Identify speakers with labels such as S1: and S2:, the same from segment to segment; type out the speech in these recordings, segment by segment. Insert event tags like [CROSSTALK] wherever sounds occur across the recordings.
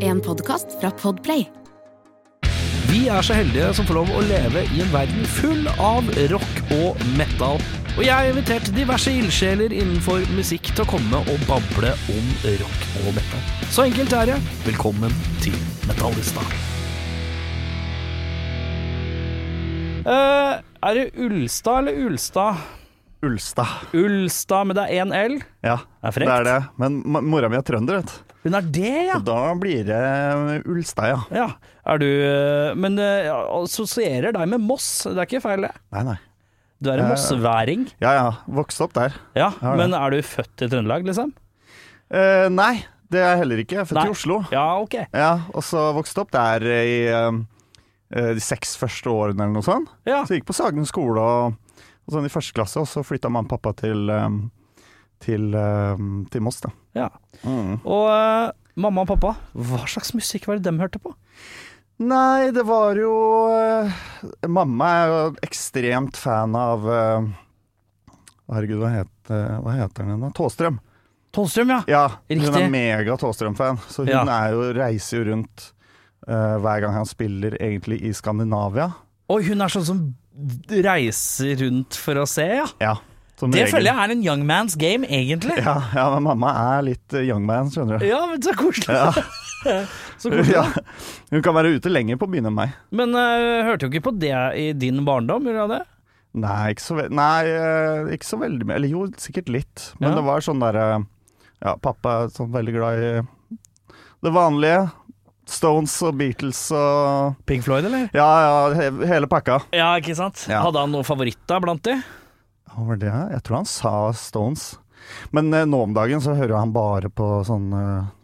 S1: En podkast fra Podplay.
S2: Vi er så heldige som får lov å leve i en verden full av rock og metal. Og jeg har invitert diverse ildsjeler innenfor musikk til å komme og bable om rock og metal. Så enkelt er det. Velkommen til Metallista. Eh, er det Ulstad eller Ulstad?
S3: Ulstad.
S2: Ulstad, men det er én L.
S3: Ja,
S2: Det er
S3: det
S2: frekt.
S3: er det. Men ma- mora mi er trønder, vet du.
S2: Hun er det, ja.
S3: Så Da blir det eh, Ulstad, ja.
S2: Ja, er du eh, Men eh, assosierer deg med Moss, det er ikke feil det?
S3: Nei, nei.
S2: Du er en
S3: Eh,
S2: mossværing,
S3: Ja ja, vokste opp der.
S2: ja,
S3: ja.
S2: men er du født i Trøndelag, liksom?
S3: Eh, nei, det er jeg heller ikke. Jeg er født
S2: Nei.
S3: i Oslo.
S2: Ja, ok.
S3: Ja, og så vokste opp der i eh, eh, de seks første årene eller noe sånt.
S2: Ja,
S3: Så jeg gikk på Sagen skole og, og sånn i første klasse, og så flytta mamma og pappa til, eh, til, eh, til Moss, da.
S2: ja.
S3: Mm.
S2: Og eh, mamma og pappa, hva slags musikk var det de hørte på?
S3: Nei, det var jo eh, Mamma er jo ekstremt fan av eh, Herregud, hva, het, eh, hva heter den igjen da? Tåstrøm.
S2: Tolstrøm, ja.
S3: Ja, hun
S2: Riktig.
S3: er mega Tåstrøm-fan. Så hun
S2: Ja.
S3: er jo, reiser jo rundt eh, hver gang han spiller, egentlig i Skandinavia.
S2: Oi, hun er sånn som reiser rundt for å se, ja.
S3: Ja, som
S2: Det
S3: regel.
S2: føler jeg er en young man's game, egentlig.
S3: Ja, ja, men mamma er litt eh, young man, skjønner du.
S2: Ja, men så koselig.
S3: Ja.
S2: [LAUGHS] Så koselig.
S3: [LAUGHS] Ja, hun kan være ute lenger på byen enn meg.
S2: Men eh, hørte jo ikke på det i din barndom, gjorde jeg det?
S3: Nei, ikke så, ve nei, eh, ikke så veldig mye. Eller jo, sikkert litt. Men
S2: Ja.
S3: det var sånn derre Ja, pappa er sånn veldig glad i det vanlige. Stones og Beatles og
S2: Pink Floyd, eller?
S3: Ja, ja, he hele pakka.
S2: Ja, ikke sant?
S3: Ja.
S2: Hadde han noen favoritter blant de?
S3: Hva var det? Jeg tror han sa Stones. Men eh, nå om dagen så hører han bare på sånn eh,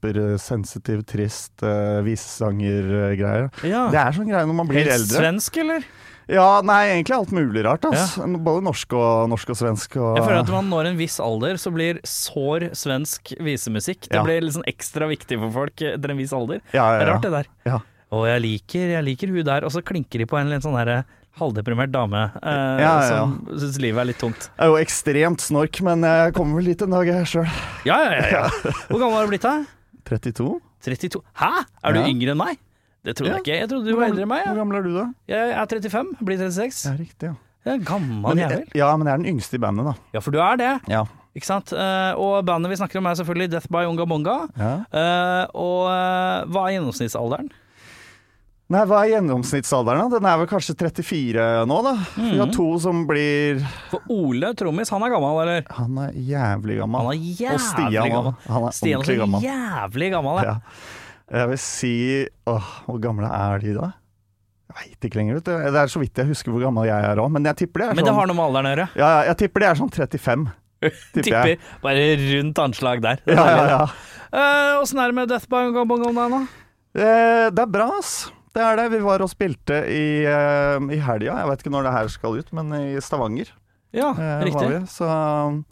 S3: supersensitiv, trist eh, visesangergreier.
S2: Ja.
S3: Det er sånn greie når man blir
S2: Ah. Helt
S3: eldre.
S2: svensk, eller?
S3: Ja, nei, egentlig alt mulig rart. ass. Både norsk og, norsk og svensk. Og,
S2: Jeg føler at når man når en viss alder, så blir sår svensk visemusikk Det
S3: Ja.
S2: blir liksom ekstra viktig for folk etter en viss alder.
S3: ja,
S2: Det er
S3: ja, ja.
S2: rart, det der.
S3: Ja.
S2: Å, jeg liker, jeg liker hun der. Og så klinker de på en litt sånn derre halvdeprimert dame eh,
S3: Ja, ja, ja.
S2: som syns livet er litt tungt.
S3: Jeg er jo ekstremt snork, men jeg kommer vel dit en dag, jeg sjøl.
S2: Ja, ja, ja.
S3: [LAUGHS]
S2: ja. Hvor gammel har du blitt, da?
S3: 32?
S2: 32? Hæ? Er du
S3: Ja.
S2: yngre enn meg? Det trodde
S3: Ja.
S2: jeg ikke. Jeg trodde du var eldre enn meg.
S3: Hvor
S2: Ja.
S3: gammel er du, da?
S2: Jeg er 35, blir 36.
S3: Ja, riktig, ja.
S2: Jeg er gammel
S3: Men,
S2: jævel.
S3: ja, men jeg er den yngste i bandet, da.
S2: Ja, for du er det,
S3: Ja.
S2: ikke sant? Eh, og bandet vi snakker om er selvfølgelig Death by Onga Bonga. Eh, og eh, hva er gjennomsnittsalderen?
S3: Nei, hva er gjennomsnittsalderen, da? Den er vel kanskje 34 nå, da. Vi
S2: Mm.
S3: har to som blir
S2: For Ole Trommis, han er gammel, eller?
S3: Han er jævlig gammel.
S2: Han er jævlig
S3: Og Stian
S2: gammel.
S3: også. Han er
S2: Stian
S3: ordentlig
S2: er
S3: gammel.
S2: jævlig gammel, ja.
S3: Ja. Jeg vil si Åh, hvor gamle er de da? Jeg veit ikke lenger, vet du. Det er så vidt jeg husker hvor gammel jeg er òg, men jeg tipper det er
S2: Men det
S3: sånn
S2: har noe med alderen å gjøre.
S3: ja, ja, jeg tipper det er sånn 35.
S2: [LAUGHS]
S3: Tipper
S2: Tipper
S3: jeg.
S2: bare rundt anslag der. Det er
S3: Ja, ja,
S2: deilig.
S3: ja.
S2: Eh, Åssen er det med Death by Onga Bonga om dagen, da?
S3: Eh, Det er bra, ass. Det er det. Vi var og spilte i, eh, i helga. Jeg vet ikke når det her skal ut, men i Stavanger
S2: Ja,
S3: eh, var
S2: riktig.
S3: vi. Så um,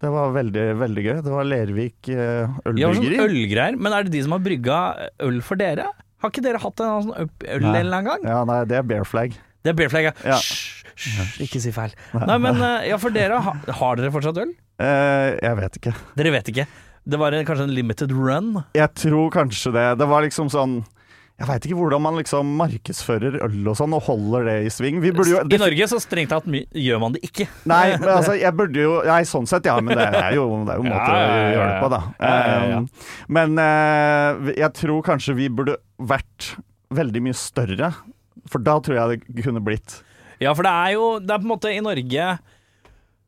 S3: det var veldig, veldig gøy. Det var Lervik eh,
S2: Ja, sånn
S3: ølbryggeri.
S2: ølgreier. Men er det de som har brygga øl for dere? Har ikke dere hatt en sånn øp- øl en
S3: Nei.
S2: eller annen gang?
S3: Ja, nei, det er bear flag.
S2: Det er Bearflag, ja.
S3: Ja.
S2: Hysj, hysj, ikke si feil. Nei, men eh, ja, for dere, ha- har dere fortsatt øl?
S3: Eh, jeg vet ikke.
S2: Dere vet ikke. Det var en, kanskje en limited run?
S3: Jeg tror kanskje det. Det var liksom sånn Jeg veit ikke hvordan man liksom markedsfører øl og sånn, og holder det i sving. Vi burde jo
S2: I Norge så strengt tatt my- gjør man det ikke.
S3: Nei, men altså, jeg burde jo Nei, sånn sett, ja, men det er jo, det er jo en måte
S2: Ja, ja, ja,
S3: å gjøre det på, da.
S2: ja, ja, ja.
S3: Um, Men eh, jeg tror kanskje vi burde vært veldig mye større, for da tror jeg det kunne blitt
S2: Ja, for det er jo Det er på en måte i Norge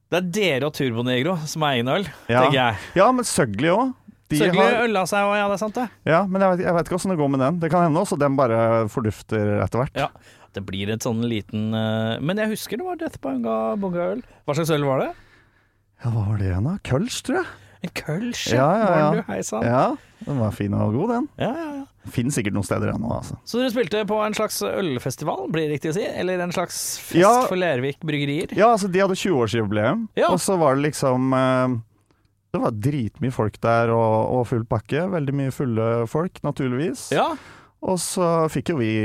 S2: Det er dere og Turbonegro som er egen øl,
S3: Ja,
S2: tenker jeg.
S3: ja men Søgli òg.
S2: Sørgelig har... øla seg òg, ja, det er sant, det.
S3: Ja, men jeg vet, jeg vet ikke åssen det går med den. Det kan hende også den bare fordufter etter hvert.
S2: Ja. Det blir et sånn liten eh, Men jeg husker det var Death by Unga Bonga øl. Hva slags øl var det?
S3: Ja, hva var det igjen, da? Kölsch, tror jeg.
S2: En Kölsch,
S3: Ja, ja, ja.
S2: Barn, du, Hei sann. Ja.
S3: Ja, den var fin og god, den.
S2: Ja, ja,
S3: Finnes sikkert noen steder ennå, altså.
S2: Så dere spilte på en slags ølfestival, blir det riktig å si? Eller en slags fest
S3: Ja.
S2: for Lervik bryggerier?
S3: [LAUGHS] Ja, altså, de hadde 20-årsjubileum,
S2: Ja.
S3: og så var det liksom eh, Det var dritmye folk der og, og full pakke. Veldig mye fulle folk, naturligvis.
S2: Ja.
S3: Og så fikk jo vi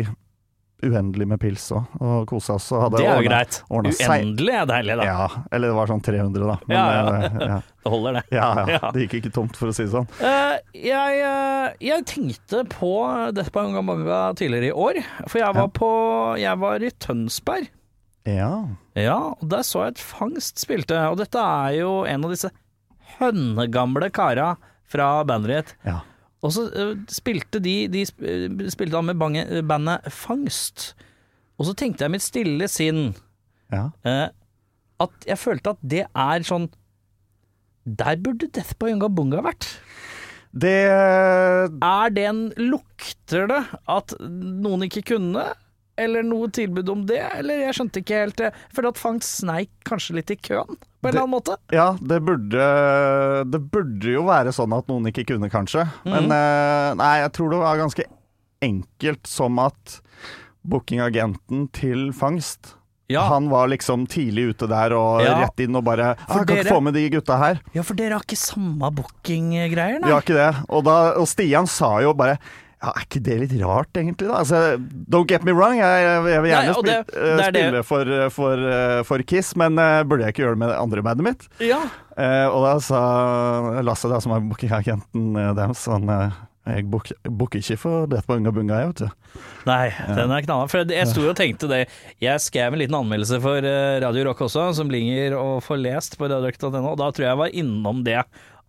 S3: uendelig med pils òg, og kosa oss. Og hadde
S2: Det er jo
S3: ordnet-
S2: greit.
S3: ordnet seg-
S2: Uendelig er deilig, da.
S3: Ja, eller det var sånn 300, da. Men,
S2: Ja,
S3: eh, ja.
S2: Det holder, det.
S3: Ja, ja,
S2: [LAUGHS] Ja.
S3: Det gikk ikke tomt, for å si det sånn.
S2: Eh, jeg, eh, jeg tenkte på Despamanga tidligere i år, for jeg var,
S3: Ja.
S2: på, jeg var i Tønsberg.
S3: Ja.
S2: Ja, og der så jeg at Fangst spilte, og dette er jo en av disse hønnegamle kara fra bandet ditt.
S3: ja.
S2: Og så eh, spilte de, de sp- eh, spilte han med bange, bandet Fangst, og så tenkte jeg i mitt stille sinn
S3: ja.
S2: eh, at jeg følte at det er sånn Der burde Death by Unga Bunga vært.
S3: Det
S2: Er det en Lukter det at noen ikke kunne? Eller noe tilbud om det? Eller jeg skjønte ikke helt det. Jeg føler at Fangt sneik kanskje litt i køen, på en
S3: Det-
S2: eller annen måte.
S3: Ja, det burde, det burde jo være sånn at noen ikke kunne, kanskje.
S2: Mhm.
S3: Men eh, nei, jeg tror det var ganske enkelt som at bookingagenten til fangst
S2: Ja,
S3: Han var liksom tidlig ute der og
S2: Ja.
S3: rett inn og bare ah,
S2: For
S3: 'Kan ikke
S2: dere-
S3: få med de gutta her.'
S2: ja for dere har ikke samme booking-greier,
S3: Vi
S2: nei?
S3: har ikke det. Og, da, og Stian sa jo bare ja, Er ikke det litt rart, egentlig? da? Altså, don't get me wrong, jeg, jeg, jeg
S2: Nei,
S3: vil gjerne
S2: og
S3: spille,
S2: det- det er det.
S3: spille for, eh, for, eh, for Kiss, men eh, burde jeg ikke gjøre det med det andre bandet mitt?
S2: Ja.
S3: Eh, og da sa Lasse, da, som er bookingagenten eh, deres, han eh, jeg book- booker ikke for dette på Unga Bunga, jeg, vet du.
S2: Nei, den er knallhard. For jeg sto jo og tenkte det. Jeg skrev en liten anmeldelse for eh, Radio Rock også, som ligger og får lest på radiorock.no, og da tror jeg jeg var innom det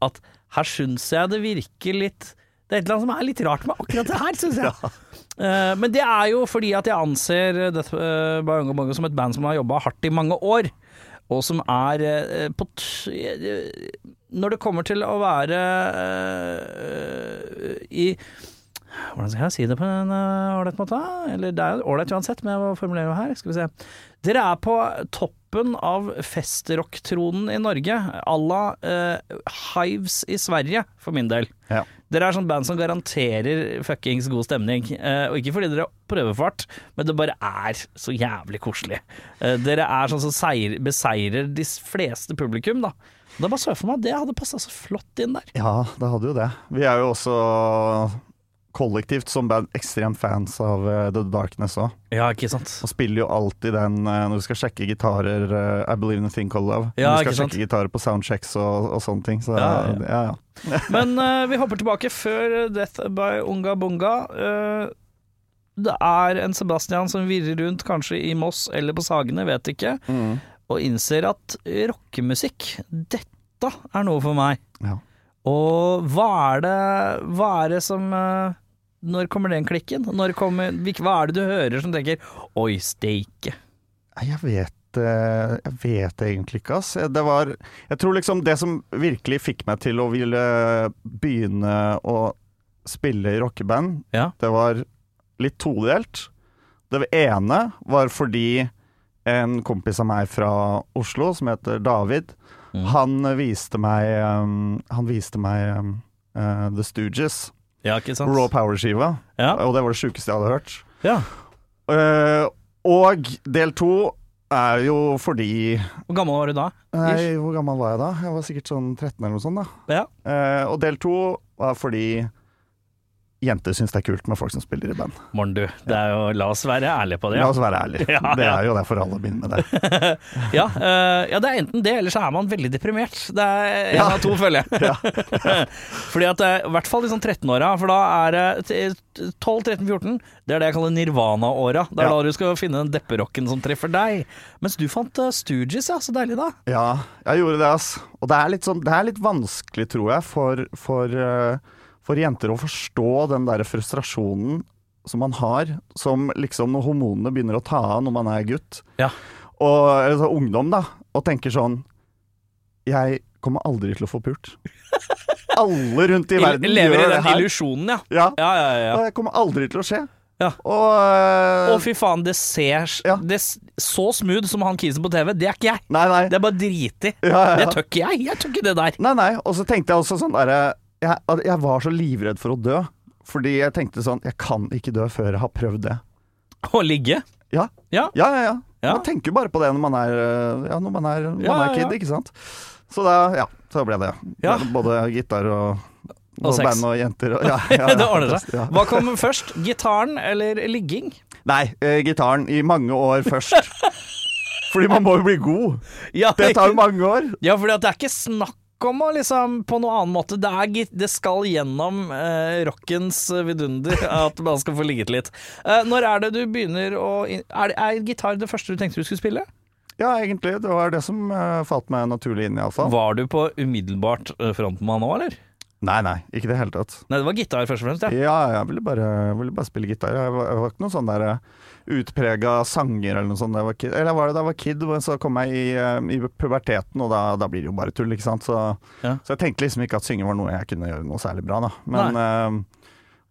S2: at her syns jeg det virker litt Det er et eller annet som er litt rart med akkurat det her, syns jeg. Eh, men det er jo fordi at jeg anser Death eh, by Ungo Bongo som et band som har jobba hardt i mange år, og som er eh, på t eh, Når det kommer til å være eh, i hvordan skal jeg si det på en eh, ålreit måte? Eller det er jo ålreit uansett, men jeg må formulere det her. Skal vi se. Dere er på toppen av festrock-tronen i Norge, à la eh, Hives i Sverige, for min del.
S3: Ja.
S2: Dere er sånn band som garanterer fuckings god stemning. Eh, og ikke fordi dere prøver fart, men det bare er så jævlig koselig. Eh, dere er sånn som seier, beseirer de fleste publikum, da. Da bare så jeg for meg at det hadde passa så flott inn der.
S3: ja, det hadde jo det. Vi er jo også kollektivt som band ekstremt fans av eh, The Darkness òg.
S2: Ja, ikke sant.
S3: Og spiller jo alltid den eh, når du skal sjekke gitarer eh, I Believe in a Thing Called Love.
S2: Ja,
S3: når
S2: ikke
S3: du skal
S2: sant?
S3: sjekke gitarer på soundchecks og, og sånne ting. Så,
S2: Ja, ja,
S3: ja, ja.
S2: Men eh, vi hopper tilbake før Death by Unga Bunga. Eh, det er en Sebastian som virrer rundt, kanskje i Moss eller på Sagene, vet ikke,
S3: Mm.
S2: og innser at rockemusikk, dette er noe for meg.
S3: Ja.
S2: Og hva er det, hva er det som eh, Når kommer den klikken? Når kommer, hvil- hva er det du hører som tenker 'oi, steike'?
S3: Nei, Jeg vet eh, Jeg vet egentlig ikke, ass. Det var Jeg tror liksom det som virkelig fikk meg til å ville begynne å spille i rockeband,
S2: Ja.
S3: det var litt todelt. Det ene var fordi en kompis av meg fra Oslo, som heter David,
S2: Mm.
S3: han viste meg um, Han viste meg um, eh, The Stooges,
S2: Ja, ikke sant?
S3: Raw Power-skiva,
S2: Ja.
S3: og det var det sjukeste jeg hadde hørt.
S2: ja.
S3: Eh, og del to er jo fordi
S2: Hvor gammel var du da?
S3: Nei, hvor gammel var jeg da? Jeg var sikkert sånn 13 eller noe sånt, da.
S2: Ja.
S3: Eh, og del to var fordi jenter syns det er kult med folk som spiller i band.
S2: Morn, du. Det er jo, la oss være ærlige på det.
S3: La oss være ærlige.
S2: [LAUGHS] Ja,
S3: Det
S2: ja.
S3: er jo derfor alle begynner med det.
S2: ja, eh, ja, det er enten det, eller så er man veldig deprimert. Det er en
S3: [LAUGHS] Ja.
S2: av to, føler jeg. [LAUGHS] Fordi at det er, I hvert fall i sånn 13-åra, for da er det t- eh, 12-13-14. Det er det jeg kaller nirvana-åra. Det er
S3: Ja.
S2: da du skal finne den depperocken som treffer deg. Mens du fant uh, Stooges, ja. Så deilig, da.
S3: Ja, jeg gjorde det, ass. Og det er litt, sånn, det er litt vanskelig, tror jeg, for, for, eh, for jenter å forstå den derre frustrasjonen som man har, som liksom når hormonene begynner å ta av når man er gutt.
S2: Ja.
S3: og eller så ungdom, da, og tenker sånn Jeg kommer aldri til å få
S2: [LAUGHS]
S3: pult. Alle rundt i verden
S2: lever i
S3: gjør det
S2: den
S3: her.
S2: illusjonen, ja.
S3: Ja,
S2: Ja, ja, ja.
S3: og
S2: ja.
S3: det kommer aldri til å skje.
S2: Ja.
S3: Og, eh,
S2: Å, fy faen, det ser
S3: Ja.
S2: det, s- Så smooth som han kisen på TV, det er ikke jeg.
S3: Nei, nei.
S2: Det er bare driti.
S3: ja, ja.
S2: Det tør ikke jeg. Jeg tør ikke det der.
S3: Nei, nei. Og så tenkte jeg også sånn derre jeg, at jeg var så livredd for å dø, fordi jeg tenkte sånn Jeg kan ikke dø før jeg har prøvd det.
S2: Å ligge.
S3: Ja,
S2: Ja.
S3: ja, ja. ja.
S2: Ja.
S3: Man tenker jo bare på det når man er, øh, ja, når man er, når
S2: Ja,
S3: man er
S2: ja,
S3: kid,
S2: ja.
S3: ikke sant. Så da, ja, så ble det.
S2: Ja.
S3: Både gitar og, og,
S2: sex. [LAUGHS]
S3: band og jenter. Og, ja, ja, ja,
S2: det ordner
S3: Ja.
S2: seg. Hva kom først? Gitaren eller ligging?
S3: Nei, eh, gitaren i mange år
S2: [LAUGHS]
S3: først. Fordi man må jo bli god.
S2: Ja,
S3: Det tar jo
S2: ikke-
S3: mange år.
S2: ja for det er ikke snakk om å liksom på noen annen måte. Det, er, git- det skal gjennom eh, rockens vidunder [LAUGHS] at man skal få ligget litt. Eh, når er det du begynner å in- Er, det- er gitar det første du tenkte du skulle spille?
S3: Ja, egentlig. Det var det som eh, falt meg naturlig inn, iallfall.
S2: Var du på umiddelbart eh, front med han òg, eller?
S3: Nei, nei, ikke i det hele tatt.
S2: Nei, det var gitar først og fremst, ja.
S3: [LAUGHS] Ja, jeg ville bare, jeg ville bare spille gitar. Jeg var, jeg var ikke noen sånn der utprega sanger eller noe sånt. da Jeg var kid. Eller jeg var det da jeg var kid, men så kom jeg i, eh, i puberteten, og da, da blir det jo bare tull, ikke sant. Så,
S2: Ja.
S3: så jeg tenkte liksom ikke at synging var noe jeg kunne gjøre noe særlig bra, da. Men, eh,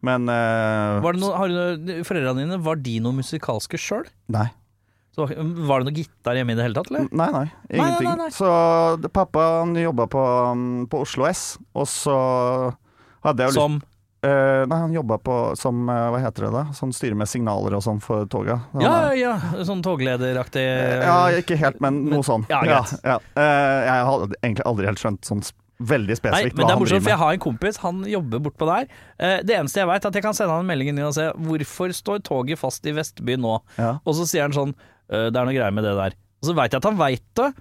S3: men eh,
S2: Var det noe, har du, noe- foreldrene dine, var de noe musikalske sjøl?
S3: Nei.
S2: Var var det noe gitar hjemme i det hele tatt, eller?
S3: Nei, nei,
S2: nei,
S3: ingenting.
S2: nei.
S3: Så det- pappa han jobba på, mm, på Oslo S, og så hadde jeg jo lyst
S2: Som
S3: Eh, Nei, han jobba på som eh, Hva heter det da? Sånn styrer med signaler og sånn for toga. Han er-
S2: Ja, ja, ja, sånn toglederaktig
S3: Ja, ikke helt, men noe sånn.
S2: Eh, Ja, greit.
S3: ja. Eh, jeg har egentlig aldri helt skjønt sånn sp- veldig
S2: Nei, men det
S3: spesifikt hva
S2: er
S3: han
S2: morsomt,
S3: driver
S2: for jeg
S3: med.
S2: har en kompis, han jobber bortpå der. Eh, Det eneste jeg veit, er at jeg kan sende han en melding inn og se hvorfor står toget fast i Vestby nå?
S3: Ja.
S2: Og så sier han sånn «Eh, Det er noe greier med det der. Og så veit jeg at han veit det,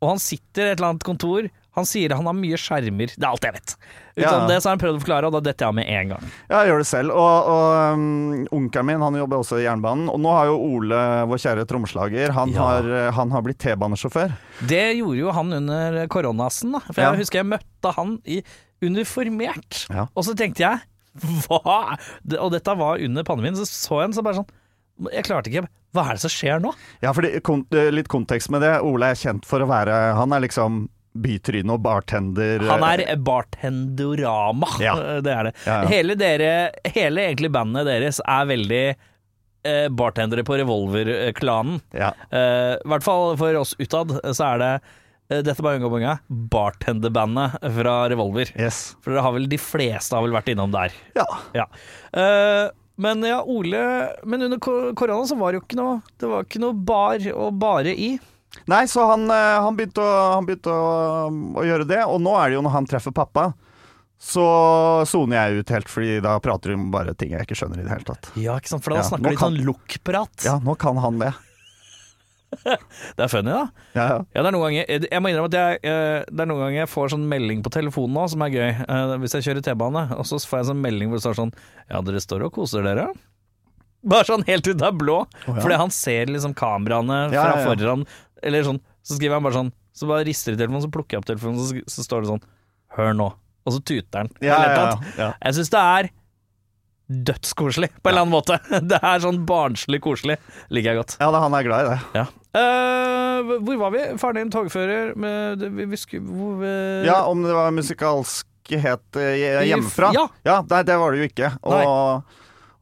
S2: og han sitter i et eller annet kontor. Han sier han har mye skjermer. Det er alt jeg vet. Utenom
S3: Ja.
S2: det så har han prøvd å forklare, og da detter jeg av med en gang.
S3: Ja, jeg gjør det selv. Og, og um, onkelen min han jobber også i jernbanen. Og nå har jo Ole, vår kjære trommeslager, han,
S2: Ja.
S3: har, eh, han har blitt T-banesjåfør.
S2: Det gjorde jo han under koronasen, da. For
S3: Ja.
S2: jeg husker jeg møtte han i uniformert.
S3: Ja.
S2: Og så tenkte jeg hva er- Og dette var under pandemien, så så jeg han så bare sånn Jeg klarte ikke Hva er det som skjer nå?
S3: Ja, fordi kon eh, litt kontekst med det. Ole er kjent for å være Han er liksom bytryne og bartender.
S2: Han er bartendorama,
S3: eh, Ja.
S2: [LAUGHS] det er det.
S3: Ja, ja.
S2: Hele, dere, hele egentlig bandet deres er veldig eh, bartendere på revolverklanen.
S3: Ja.
S2: Eh, I hvert fall for oss utad, så er det eh, dette bare unga bunga, bartenderbandet fra Revolver.
S3: Yes.
S2: For dere har vel, de fleste har vel vært innom der.
S3: Ja.
S2: Ja. Eh, men ja, Ole Men under ko- korona så var det jo ikke noe Det var ikke noe bar å bare i.
S3: Nei, så han, eh, han begynte, å, han begynte å, å gjøre det, og nå er det jo når han treffer pappa, så soner jeg ut helt, fordi da prater vi om bare ting jeg ikke skjønner i det hele tatt.
S2: Ja, ikke sant? For da
S3: Ja,
S2: snakker
S3: nå
S2: de
S3: kan-
S2: sånn lukkprat.
S3: Ja, nå kan han det.
S2: Det er funny, da.
S3: Ja, ja.
S2: Ja, det er noen ganger Jeg må innrømme at jeg, eh, det er noen ganger jeg får sånn melding på telefonen nå, som er gøy. Eh, Hvis jeg kjører T-bane, og så får jeg sånn melding hvor det står sånn Ja, dere står og koser dere. Bare sånn helt ut av blå.
S3: ja.
S2: Fordi han ser liksom kameraene fra
S3: Ja, ja, ja.
S2: foran, eller sånn. Så skriver han bare sånn Så bare rister det i telefonen, så plukker jeg opp telefonen, så, sk- så står det sånn Hør nå. Og så tuter han. Eller
S3: Ja,
S2: et
S3: ja,
S2: eller annet.
S3: ja.
S2: Jeg syns det er dødskoselig, på en eller annen måte. [LAUGHS] Det er sånn barnslig koselig. Liker jeg godt.
S3: ja da, han er glad i det.
S2: Ja. Eh, hvor var vi? Faren din togfører med, vi, vi skulle, hvor, eh,
S3: Ja, om det var musikalskhet eh, hjemmefra?
S2: Ja.
S3: nei, det var det jo ikke. Og,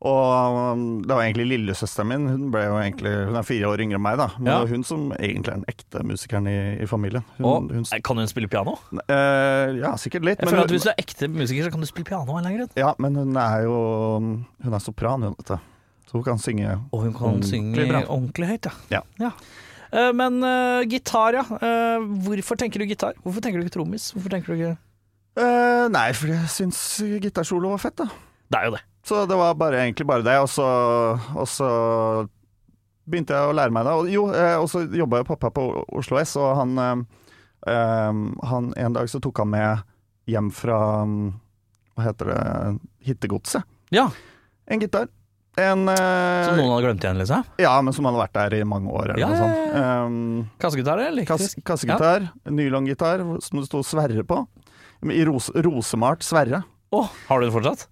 S3: og um, det var egentlig lillesøsteren min. Hun, ble jo egentlig, hun er fire år yngre enn meg, da. Men
S2: Ja.
S3: det er hun som egentlig er den ekte musikeren i, i familien. Hun,
S2: og,
S3: hun,
S2: Nei, Kan hun spille piano?
S3: eh, ja, sikkert litt.
S2: Jeg føler at Hvis du er ekte musiker, så kan du spille piano av en eller annen grunn.
S3: Ja, men hun er jo Hun er sopran, hun, vet du. Så hun kan synge
S2: Og hun kan
S3: Ordentlig
S2: synge
S3: bra.
S2: ordentlig høyt,
S3: Ja.
S2: Eh, men eh, gitar, ja. Eh, hvorfor tenker du gitar? Hvorfor tenker du ikke trommis? Hvorfor tenker du ikke
S3: Eh, Nei, for jeg syns gitarsolo var fett, da.
S2: Det er jo det.
S3: Så det var bare, egentlig bare det. Og så, og så begynte jeg å lære meg det. Og jo, eh, og så jobba jo pappa på Oslo S, og han, eh, eh, han En dag så tok han med hjem fra mm, Hva heter det Hittegodset.
S2: Ja,
S3: En gitar. En eh,
S2: Som noen hadde glemt igjen, liksom?
S3: Ja, men som hadde vært der i mange år, eller
S2: Ja,
S3: noe
S2: ja,
S3: sånt. Eh,
S2: Kassegitar eller
S3: Kass,
S2: elektrisk?
S3: kassegitar, nylongitar, som det sto Sverre på. I ros, rosemalt Sverre.
S2: Å, har du det fortsatt?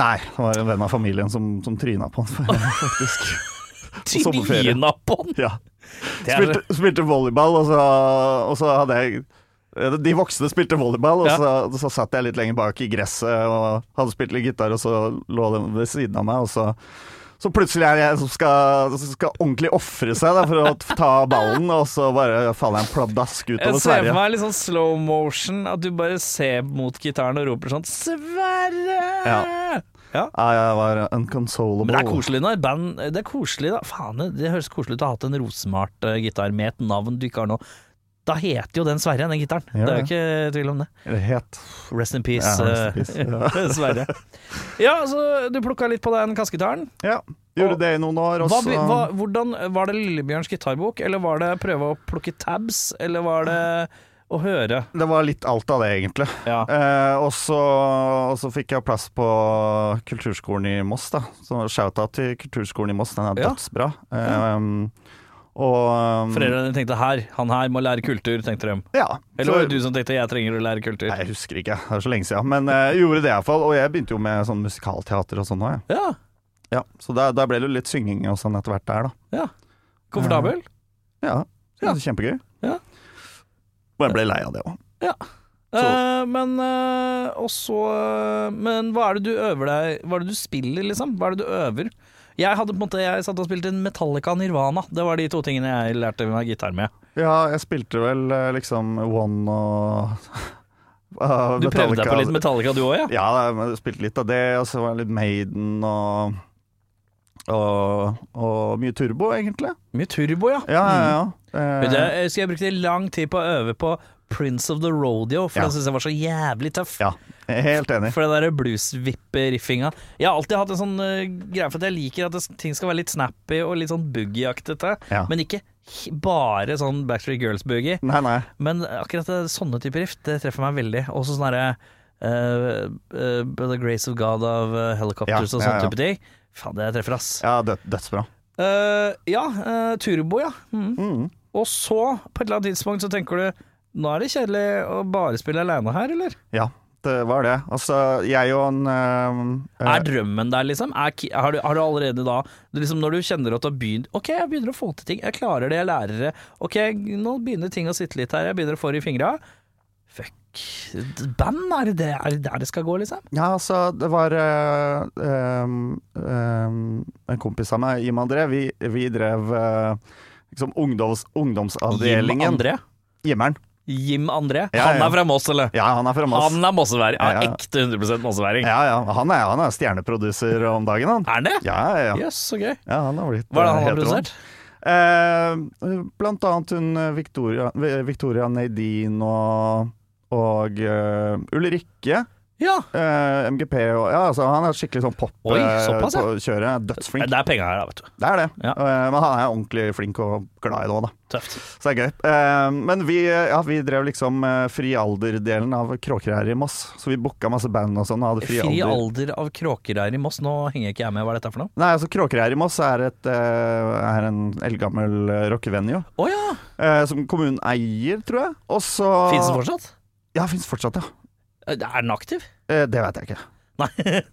S3: Nei, det var en venn av familien som, som tryna på den, [LAUGHS] faktisk. sommerferie.
S2: Tryna på den!
S3: Ja.
S2: Det er-
S3: Spilte, spilte volleyball, og så, og så hadde jeg eh, De voksne spilte volleyball, og
S2: Ja.
S3: så, så satt jeg litt lenger bak i gresset og hadde spilt litt gitar, og så lå den ved siden av meg, og så så plutselig er det jeg som skal, som skal ordentlig ofre seg da, for å ta ballen, og så bare faller jeg en pladask
S2: Jeg ser
S3: utover
S2: for
S3: Sverige.
S2: meg litt sånn slow motion, at du bare ser mot gitaren og roper sånn 'Sverre!'
S3: Ja.
S2: Ja.
S3: Ja, jeg var unconsolable.
S2: Men det er koselig når band Det er koselig da Faen, det høres koselig ut å ha hatt en rosemart eh, gitar med et navn du ikke har nå. Da heter jo den Sverre, den gitaren.
S3: Ja,
S2: det er jo ikke tvil om det.
S3: Eller het.
S2: Rest in peace,
S3: Ja, rest in
S2: [LAUGHS] altså, eh, Sverre. Ja, så du plukka litt på den kassegitaren.
S3: Ja. Gjorde
S2: Og-
S3: det i noen år, og
S2: Hva,
S3: så
S2: be- hva, hvordan, var det Lillebjørns gitarbok, eller var det prøve å plukke tabs, eller var det å høre?
S3: Det var litt alt av det, egentlig.
S2: Ja.
S3: Eh, og, så, og så fikk jeg plass på kulturskolen i Moss, da. Så shout-out til kulturskolen i Moss, den er
S2: Ja.
S3: dødsbra. Eh, og um,
S2: Foreldrene tenkte her, han her må lære kultur, tenkte de.
S3: Ja.
S2: Eller var
S3: så-
S2: det du som tenkte jeg trenger å lære kultur?
S3: Nei, jeg husker ikke, det er så lenge siden. Men eh, jeg gjorde det iallfall. Og jeg begynte jo med sånn musikalteater og sånn òg, jeg.
S2: Ja,
S3: Ja. Så da, da ble det jo litt synging og sånn etter hvert der, da.
S2: ja. Komfortabel?
S3: Ja, så
S2: Ja.
S3: det var Kjempegøy.
S2: Ja.
S3: Og jeg ble lei av det òg.
S2: Eh, men eh, også eh, Men hva er det du øver deg Hva er det du spiller, liksom? Hva er det du øver? Jeg hadde på en måte Jeg satt og spilte en Metallica Nirvana. Det var de to tingene jeg lærte meg gitar med.
S3: Ja, jeg spilte vel eh, liksom One og [LAUGHS] ah,
S2: Du prøvde deg på litt Metallica du òg, ja?
S3: Ja, jeg spilte litt av det, og så var det litt Maiden og og, og mye turbo, egentlig.
S2: Mye turbo, ja.
S3: Ja, ja, ja.
S2: Mm.
S3: Eh,
S2: Vet du, Jeg husker jeg brukte lang tid på å øve på Prince of the Rodeo, for
S3: Ja.
S2: den syns jeg var så jævlig tøff.
S3: ja, jeg er helt enig.
S2: For den der blues-vippe-riffinga. Jeg har alltid hatt en sånn eh, greie for at jeg liker at det, ting skal være litt snappy og litt sånn boogie-aktete,
S3: Ja.
S2: men ikke he- bare sånn Backstreet Girls-boogie.
S3: Nei, nei.
S2: Men akkurat det, sånne typer riff, det treffer meg veldig. Også sånn herre eh, eh, By The Grace of God av eh, Helicopters
S3: Ja,
S2: og
S3: ja,
S2: sånne
S3: ja.
S2: type ting. Faen, det treffer, ass.
S3: Ja, død, dødsbra.
S2: Eh, ja eh, turbo, ja. Mm.
S3: Mm.
S2: Og så, på et eller annet tidspunkt, så tenker du Nå er det kjedelig å bare spille aleine her, eller?
S3: Ja, det var det. Altså, jeg og en eh, eh,
S2: er drømmen der, liksom? Er, ki- har, du, har du allerede da du liksom Når du kjenner at du har begynt Ok, jeg begynner å få til ting. Jeg klarer det, jeg lærer det. Ok, nå begynner ting å sitte litt her. Jeg begynner å få det i fingra. Fuck. Band, er det, det er det der det skal gå, liksom?
S3: Ja, altså, det var eh, ehm, ehm, En kompis av meg, Jim André, vi, vi drev eh, liksom ungdoms,
S2: Jim
S3: ungdomsavdelingen.
S2: André.
S3: Jimmeren.
S2: Jim André.
S3: Ja,
S2: Han
S3: ja.
S2: er fra Moss, eller?
S3: Ja, han er fra Moss.
S2: Han eh, er mosseværing. Han er
S3: Ja, ja.
S2: Ekte 100 mosseværing.
S3: Ja, ja, han er, han er stjerneproduser om dagen, han.
S2: Er han det?
S3: Ja, ja, ja.
S2: Jøss, så gøy.
S3: ja han har blitt
S2: Hva er det
S3: eh,
S2: han har
S3: helt rå.
S2: produsert?
S3: Eh, blant annet hun eh, Victoria, Vi- Victoria Nadine og, og eh, Ulrikke.
S2: Ja,
S3: eh, MGP og Ja, altså, han er skikkelig sånn
S2: Oi, såpass, ja.
S3: pop-kjøret. Dødsflink.
S2: det er penga her, da, vet du.
S3: Det er det.
S2: Ja.
S3: Eh, Men han er ordentlig flink og glad i det òg, da.
S2: Tøft.
S3: Så det er gøy. Eh, Men vi, ja, vi drev liksom eh, fri alder-delen av Kråkerær i Moss. Så vi booka masse band og sånn. og Hadde fri,
S2: Fri
S3: alder.
S2: alder av kråkereir i Moss. Nå henger ikke jeg med, hva er dette for noe?
S3: Nei, altså Kråkerær i Moss er, et, eh, er en eldgammel eh, rockevenue.
S2: Å ja!
S3: eh, Som kommunen eier, tror jeg. Og så
S2: Fins den fortsatt?
S3: Ja, fins fortsatt, ja.
S2: Er den aktiv?
S3: Eh, Det vet jeg ikke.
S2: Nei.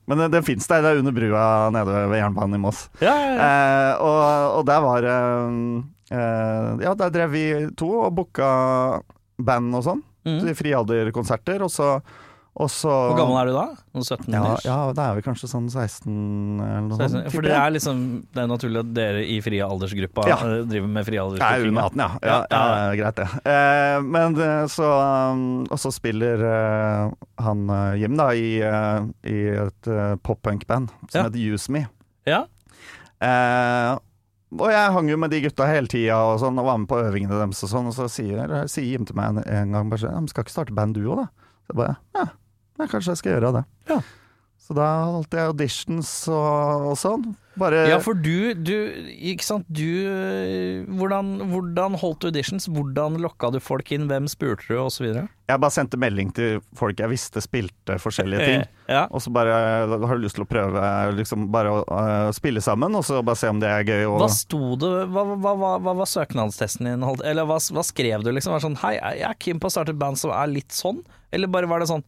S3: Men den, den fins der. Det er under brua nede ved jernbanen i Moss.
S2: Ja, ja, ja.
S3: Eh, og, og der var eh, eh, Ja, der drev vi to og booka band og sånn.
S2: Mm.
S3: Mm. Frialderkonserter, og så og så,
S2: Hvor gammel er du da? Noen 17
S3: ja,
S2: ish?
S3: ja, da er vi kanskje sånn 16 eller noe
S2: Så jeg
S3: sånt.
S2: synes- For
S3: tipper
S2: det
S3: jeg.
S2: er liksom Det er naturlig at dere i frie aldersgruppa
S3: Ja.
S2: eh, driver med frie
S3: Jeg er
S2: aldersgruppa.
S3: under 18, ja. ja, ja,
S2: Ja,
S3: Greit, det. Eh, men eh, så um, Og så spiller eh, han eh, Jim, da, i, eh, i et eh, pop-punk-band som
S2: Ja.
S3: heter Use Me.
S2: Ja.
S3: Eh, og jeg hang jo med de gutta hele tida og, sånn, og var med på øvingene deres. Og sånn Og så sier, sier Jim til meg en, en gang bare sånn «Ja, men 'Skal ikke starte band du òg, da?' Så jeg bare ja, ja, kanskje jeg skal gjøre det.
S2: Ja.
S3: Så da holdt jeg auditions og, og sånn. Bare
S2: Ja, for du, du Ikke sant, du eh, Hvordan, hvordan holdt du auditions? Hvordan lokka du folk inn? Hvem spurte du, og så videre?
S3: Jeg bare sendte melding til folk jeg visste spilte forskjellige ting.
S2: Eh, Ja.
S3: Og så bare har du lyst til å prøve liksom bare å øh, spille sammen, og så bare se om det er gøy. Og,
S2: Hva sto det Hva, hva, hva, hva var søknadstesten din? Holdt, eller hva, hva skrev du, liksom? Var det sånn Hei, jeg er keen på å starte et band som er litt sånn? Eller bare var det sånn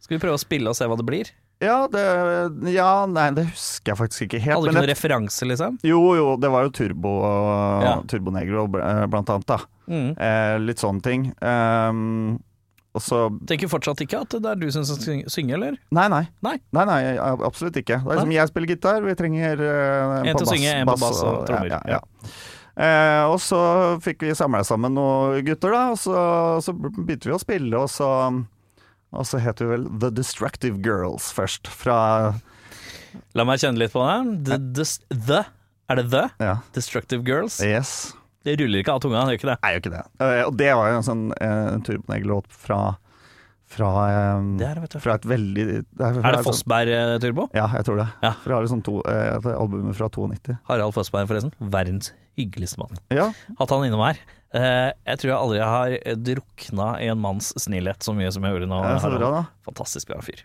S2: Skal vi prøve å spille og se hva det blir?
S3: ja, det, ja, nei, det husker jeg faktisk ikke helt.
S2: Hadde du ikke
S3: Men
S2: noen
S3: jeg,
S2: referanse, liksom?
S3: jo, jo, det var jo Turbo og
S2: Ja.
S3: Turbo Negro bl- eh, blant annet, da.
S2: Mm.
S3: Eh, litt sånne ting. Ehm, og så
S2: Tenker fortsatt ikke at det er du som skal syng- synge, eller?
S3: Nei, nei.
S2: Nei.
S3: nei, nei jeg- absolutt ikke. Det er liksom, jeg spiller gitar, vi trenger eh,
S2: En til å synge, en på bass og trommer.
S3: Ja, ja, ja. Eh, og så fikk vi samla sammen noen gutter, da, og så, så begynte vi å spille, og så og så het vi vel The Destructive Girls først, fra
S2: La meg kjenne litt på det. The, dis- the Er det The?
S3: Ja.
S2: Destructive Girls?
S3: Yes.
S2: Det ruller ikke av tunga, det gjør ikke det?
S3: Nei, jo ikke det. Eh, og det var jo en sånn eh, turbonegg-låt fra, fra, eh,
S2: Det er, vet du.
S3: fra et veldig det er, fra
S2: er
S3: et
S2: det eh,
S3: sånt-
S2: Fossberg-turbo?
S3: Ja, jeg tror det.
S2: Ja.
S3: For jeg har et sånt to, eh, et album fra 92.
S2: Harald Fossberg, forresten. Verdens hyggeligste mann.
S3: Ja,
S2: Hatt han innom her. Eh, jeg tror jeg aldri har drukna i en manns snillhet så mye som jeg gjorde nå.
S3: det er eh, så
S2: Harald.
S3: bra, da.
S2: Fantastisk bra fyr.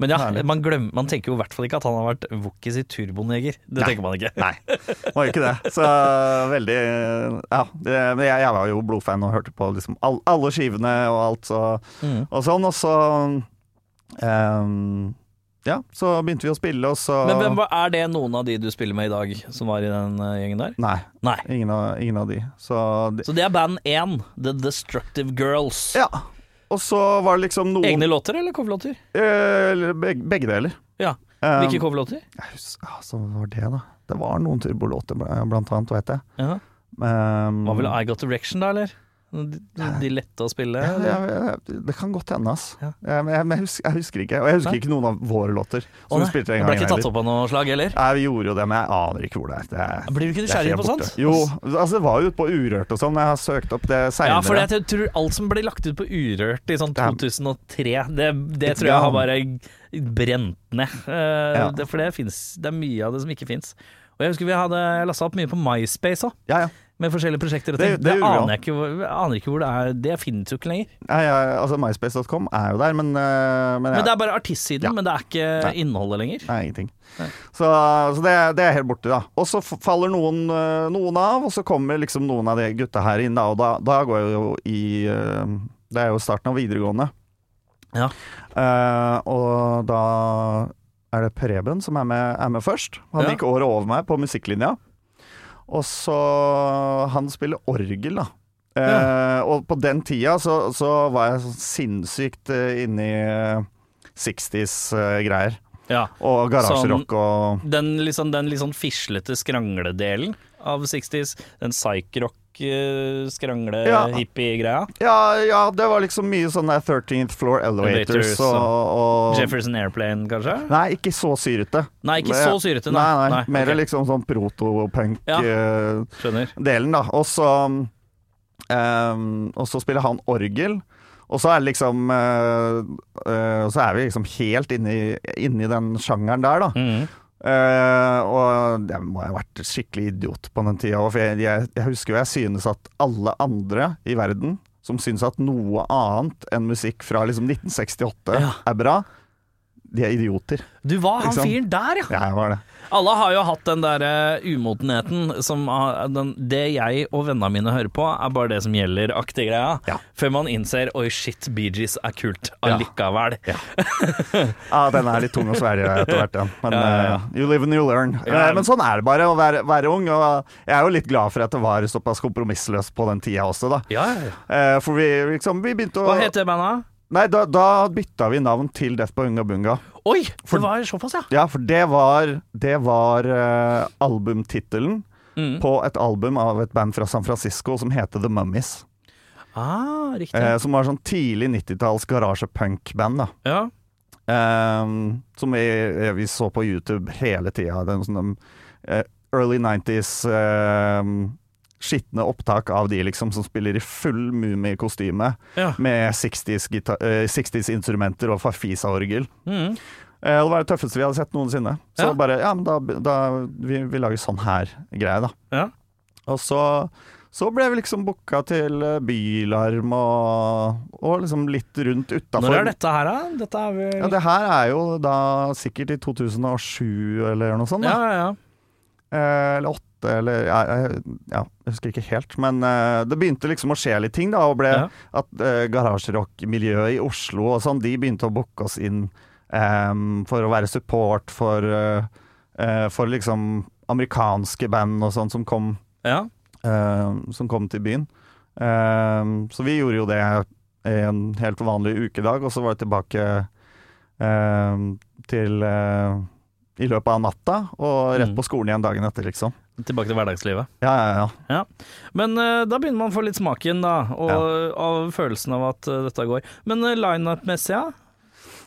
S2: Men ja,
S3: Herlig.
S2: man, glemmer, man tenker jo i hvert fall ikke at han har vært Wookies i Turboneger. Det tenker man ikke.
S3: Nei, var jo ikke det. Så eh, veldig Ja. Det, men jeg, jeg var jo blodfan og hørte på liksom all, alle skivene og alt så,
S2: Mm.
S3: og sånn. Og så ehm, Ja, så begynte vi å spille, og så
S2: Men hvem, var- er det noen av de du spiller med i dag, som var i den eh, gjengen der?
S3: Nei,
S2: Nei.
S3: ingen av, ingen av de. Så de,
S2: Så det er band én, The Destructive Girls.
S3: Ja. Og så var det liksom noen
S2: Egne låter eller coverlåter?
S3: eh, begge, begge deler.
S2: Ja.
S3: Ehm,
S2: Hvilke coverlåter?
S3: jeg husker, ja, så var det det, da. Det var noen turbolåter, bl- blant annet, vet jeg.
S2: Ja.
S3: Ehm,
S2: Var vel I Got Direction, da, eller? De, de lette å spille?
S3: Ja, ja, ja, det kan godt hende, ass.
S2: Ja.
S3: Ja, men jeg, men jeg, husker, jeg husker ikke. Og jeg husker
S2: Nei?
S3: ikke noen av våre låter.
S2: Å,
S3: Som vi
S2: nei.
S3: spilte
S2: Det
S3: en
S2: Ble
S3: gang
S2: ikke tatt opp av noe slag, eller?
S3: Nei, vi gjorde jo det, men jeg aner ikke hvor det er. Det er,
S2: Blir du ikke
S3: det er
S2: nysgjerrig
S3: helt
S2: på
S3: borte.
S2: sånt?
S3: Jo, altså det var jo ute på Urørt og sånn. Jeg har søkt opp det
S2: Ja, for
S3: seinere.
S2: jeg tror alt som ble lagt ut på Urørt i sånn
S3: Ja.
S2: 2003, det, det
S3: It's
S2: tror jeg har
S3: gone.
S2: bare brent ned. Eh,
S3: Ja.
S2: det, for det, finnes, det er mye av det som ikke fins. Og jeg husker vi hadde lasta opp mye på MySpace òg,
S3: ja, ja.
S2: med forskjellige prosjekter. Og
S3: Det-
S2: ting.
S3: det
S2: det
S3: gjorde vi
S2: aner jeg ikke, hvor- jeg aner ikke hvor det er. Det finnes jo ikke lenger.
S3: Nei, jeg- altså MySpace.com er jo der, men, eh, men,
S2: Men
S3: jeg,
S2: Det er bare artistsiden,
S3: Ja.
S2: men det er ikke
S3: Nei.
S2: innholdet lenger.
S3: Nei, ingenting.
S2: Nei.
S3: Så, så det, er- det er helt borte, da. Og så f- faller noen, eh, noen av, og så kommer liksom noen av de gutta her inn, da. Og da, da går jeg jo i eh, Det er jo starten av videregående.
S2: Ja.
S3: Eh, og da er det Preben som er med, er med først. Han
S2: Ja.
S3: gikk året over meg på musikklinja. Og så Han spiller orgel, da. Eh, Og på den tida så, så var jeg sånn sinnssykt eh, inne i eh, 60s-greier.
S2: Ja.
S3: Og garasjerock
S2: Sånn-
S3: og
S2: Den litt sånn, den litt sånn fislete skrangledelen av 60s, den
S3: Ja.
S2: psych-rock-skrangle-hippie-greia.
S3: ja, ja, det var liksom mye sånn der 13th Floor Elevators
S2: Elevators,
S3: og, og
S2: Jefferson Airplane, kanskje?
S3: Nei, ikke så syrete.
S2: Nei, ikke
S3: Men-
S2: så syrete, nei.
S3: Nei, nei,
S2: Nei,
S3: Mer
S2: ok.
S3: liksom sånn protopunk
S2: Ja.
S3: eh,
S2: Skjønner.
S3: delen, da. Og så ehm, Og så spiller han orgel. Og så er det liksom eh, eh, Så er vi liksom helt inni, inni den sjangeren der, da.
S2: Mm.
S3: Eh, og jeg må ha vært skikkelig idiot på den tida. For jeg, jeg, jeg husker jo jeg synes at alle andre i verden som synes at noe annet enn musikk fra liksom 1968
S2: Ja.
S3: er bra, de er idioter.
S2: Du var han
S3: Ikke sant?
S2: fyren der, ja!
S3: Jeg var det.
S2: Alle har jo hatt den derre umodenheten som har- den, Det jeg og vennene mine hører på, er bare det som gjelder, aktig greia.
S3: Ja.
S2: Før man innser oi, shit, Bee Gees er kult
S3: Ja.
S2: allikevel.
S3: Ja, den er litt tung å svelge etter hvert, ja. Men
S2: Ja, ja, ja.
S3: eh, you live and you learn.
S2: Ja.
S3: Eh, men sånn er det bare å være, være ung. Og jeg er jo litt glad for at det var såpass kompromissløst på den tida også, da.
S2: Ja, ja, ja.
S3: Eh, for vi liksom Vi begynte å
S2: Hva heter bandet?
S3: Nei, da, da bytta vi navn til Death på Unga Bunga.
S2: Oi,
S3: For-
S2: det var såpass, ja!
S3: Ja, for det var, det var eh, albumtittelen
S2: Mm.
S3: på et album av et band fra San Francisco som heter The Mummies.
S2: Ah, riktig.
S3: Eh, som var sånn tidlig 90-talls garasjepunk-band. da.
S2: ja.
S3: Eh, som vi, eh, vi så på YouTube hele tida. Den sånn, eh, early 90s eh, skitne opptak av de liksom som spiller i full mumikostyme
S2: ja.
S3: med 60s-instrumenter 60s -instrumenter og Farfisa-orgel.
S2: Mm.
S3: Eh, og Det var det tøffeste vi hadde sett noensinne. Så
S2: Ja.
S3: bare, ja, men da, da vi, vi lager sånn her greie, da.
S2: Ja.
S3: Og så, så ble vi liksom booka til eh, Bylarm og, og liksom litt rundt utafor.
S2: Når er dette her, da? Dette er vel
S3: Ja, det her er jo da sikkert i 2007 eller noe sånt.
S2: ja,
S3: sånn,
S2: ja,
S3: Da.
S2: ja.
S3: Eh, eller åtte, eller ja, jeg, ja, jeg husker ikke helt. Men eh, det begynte liksom å skje litt ting, da. Og ble
S2: Ja.
S3: at eh, garasjerockmiljøet i Oslo og sånn, de begynte å booke oss inn em, for å være support for, eh, eh, for liksom amerikanske band og sånn som kom,
S2: ja.
S3: eh, som kom til byen. Em, så vi gjorde jo det en helt vanlig ukedag, og så var det tilbake em, til eh, i løpet av natta, og rett
S2: Mm.
S3: på skolen igjen dagen etter, liksom.
S2: Tilbake til hverdagslivet.
S3: Ja, ja, ja.
S2: Men eh, da begynner man å få litt smaken, da, og, av følelsen av at eh, dette går. Men uh, lineup-messig, ja?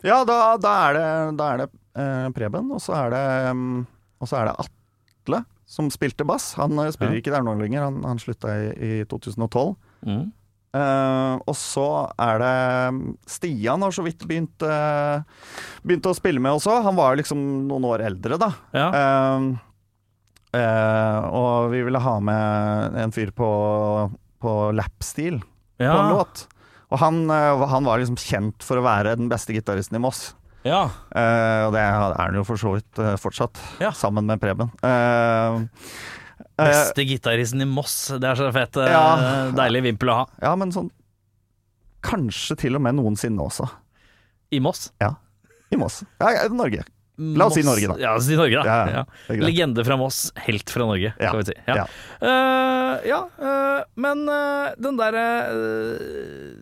S3: Ja, da, da er det, da er det eh, Preben, og så er det, mm, og så er det Atle som spilte bass. Han eh, spiller
S2: Ja.
S3: ikke der nå lenger, han, han slutta i, i 2012.
S2: Mm.
S3: Eh, og så er det mm, Stian har så vidt begynt, eh, begynt å spille med også. Han var jo liksom noen år eldre, da.
S2: Ja.
S3: Eh, eh, og vi ville ha med en fyr på, på lapstil på
S2: Ja.
S3: en låt. Og han, eh, han var liksom kjent for å være den beste gitaristen i Moss.
S2: ja.
S3: Eh, og det er han jo for så vidt eh, fortsatt,
S2: Ja.
S3: sammen med Preben. Eh, eh,
S2: Beste gitaristen i Moss. Det er så fett. eh,
S3: Ja.
S2: Deilig vimpel å ha.
S3: ja, men sånn Kanskje til og med noensinne også.
S2: I Moss.
S3: I Moss. Ja, ja, Norge. La oss si
S2: Moss-
S3: Norge, da.
S2: Ja, la oss si Norge, da.
S3: Ja, ja.
S2: Ja.
S3: Det er greit.
S2: Legende fra Moss, helt fra Norge,
S3: Ja.
S2: skal vi si. Ja,
S3: Ja.
S2: Eh, ja eh, men eh, den derre eh,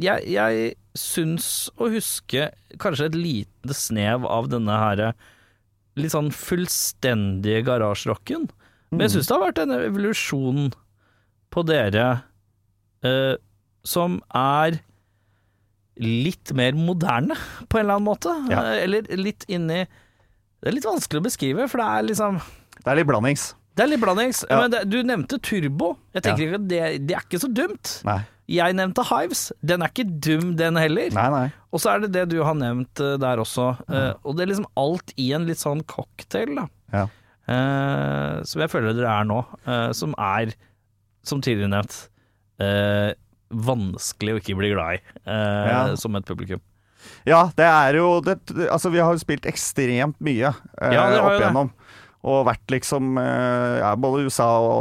S2: Jeg, jeg syns å huske kanskje et lite snev av denne her eh, litt sånn fullstendige garasjerocken. Men
S3: Mm.
S2: jeg syns det har vært en evolusjon på dere eh, som er litt mer moderne, på en eller annen måte.
S3: Ja.
S2: Eh, Eller litt inni Det er litt vanskelig å beskrive, for det er liksom
S3: Det er litt blandings.
S2: det er litt blandings.
S3: Ja.
S2: Men det, du nevnte turbo. Jeg tenker ikke at det, det er ikke så dumt.
S3: Nei.
S2: Jeg nevnte Hives. Den er ikke dum, den heller.
S3: Nei, nei.
S2: Og så er det det du har nevnt eh, der også. Eh, og det er liksom alt i en litt sånn cocktail, da.
S3: Ja.
S2: Eh, som jeg føler dere er nå. eh, som er, som tidligere nevnt, eh, vanskelig å ikke bli glad i eh,
S3: Ja.
S2: som et publikum.
S3: Ja, det er jo det, Altså, vi har jo spilt ekstremt mye eh,
S2: Ja, det har jo
S3: opp
S2: det.
S3: igjennom. Og vært liksom eh, ja, både i USA og,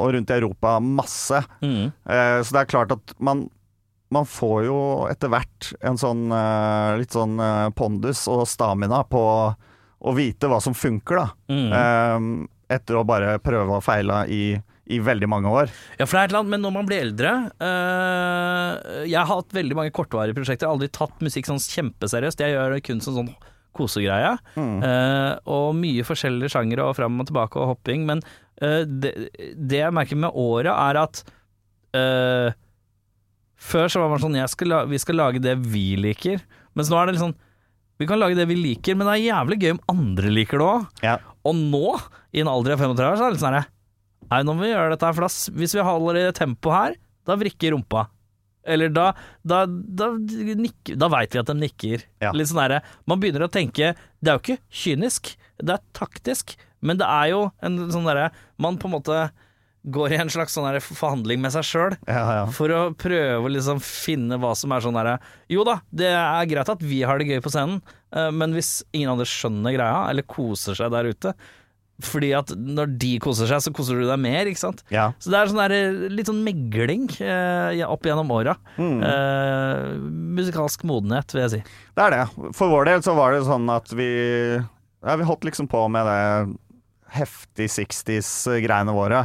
S3: og rundt i Europa masse.
S2: Mm.
S3: Eh, så det er klart at man man får jo etter hvert en sånn eh, litt sånn eh, pondus og stamina på å vite hva som funker, da.
S2: Mm.
S3: Eh, etter å bare prøve og feile i, i veldig mange år.
S2: Ja, for det er et eller annet, men når man blir eldre eh, Jeg har hatt veldig mange kortvarige prosjekter. Jeg har aldri tatt musikk sånn kjempeseriøst. Jeg gjør det kun som sånn kosegreie.
S3: Mm.
S2: Eh, og mye forskjellige sjangere og fram og tilbake og hopping. Men eh, det, det jeg merker med året, er at eh, Før så var man sånn jeg skal la, Vi skal lage det vi liker. Mens nå er det litt sånn Vi kan lage det vi liker, men det er jævlig gøy om andre liker det òg.
S3: Ja.
S2: Og nå, i en alder av 35 år, så er det litt sånn herre Nei, nå må vi gjøre dette her, for da, s- hvis vi holder i det tempoet her, da vrikker rumpa. Eller da Da, da, nikker- da veit vi at de nikker.
S3: Ja.
S2: Litt sånn derre Man begynner å tenke Det er jo ikke kynisk, det er taktisk, men det er jo en sånn derre Man på en måte går i en slags sånn derre forhandling med seg sjøl.
S3: Ja, ja.
S2: For å prøve å liksom finne hva som er sånn derre Jo da, det er greit at vi har det gøy på scenen, eh, men hvis ingen andre skjønner greia, eller koser seg der ute Fordi at når de koser seg, så koser du deg mer, ikke sant?
S3: ja.
S2: Så det er sånn derre litt sånn megling eh, opp gjennom åra.
S3: Mm.
S2: Eh, musikalsk modenhet, vil jeg si.
S3: Det er det. For vår del så var det sånn at vi ja, Vi holdt liksom på med det heftig 60s-greiene våre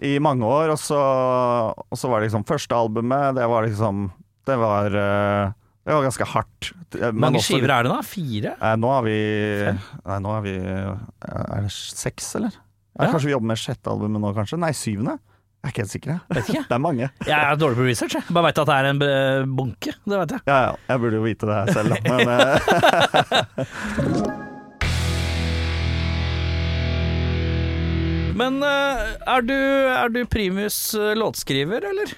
S3: i mange år. Og så, og så var det liksom første albumet Det var liksom Det var, eh, det var ganske hardt. Eh,
S2: Hvor mange skiver er det da? Fire?
S3: Nå har vi Nei, nå har vi eh, Er det seks, eller?
S2: Ja.
S3: Ja, Kanskje vi jobber med sjette albumet nå, kanskje? Nei, syvende? Jeg er ikke helt sikker. jeg.
S2: Vet ikke.
S3: Det er mange.
S2: [LAUGHS] Jeg er dårlig på research, jeg. Bare veit at det er en eh, bunke. Det veit jeg.
S3: Ja, ja. Jeg burde jo vite det her selv, da. Men eh, [LAUGHS]
S2: Men eh, er, du, er du primus eh, låtskriver, eller?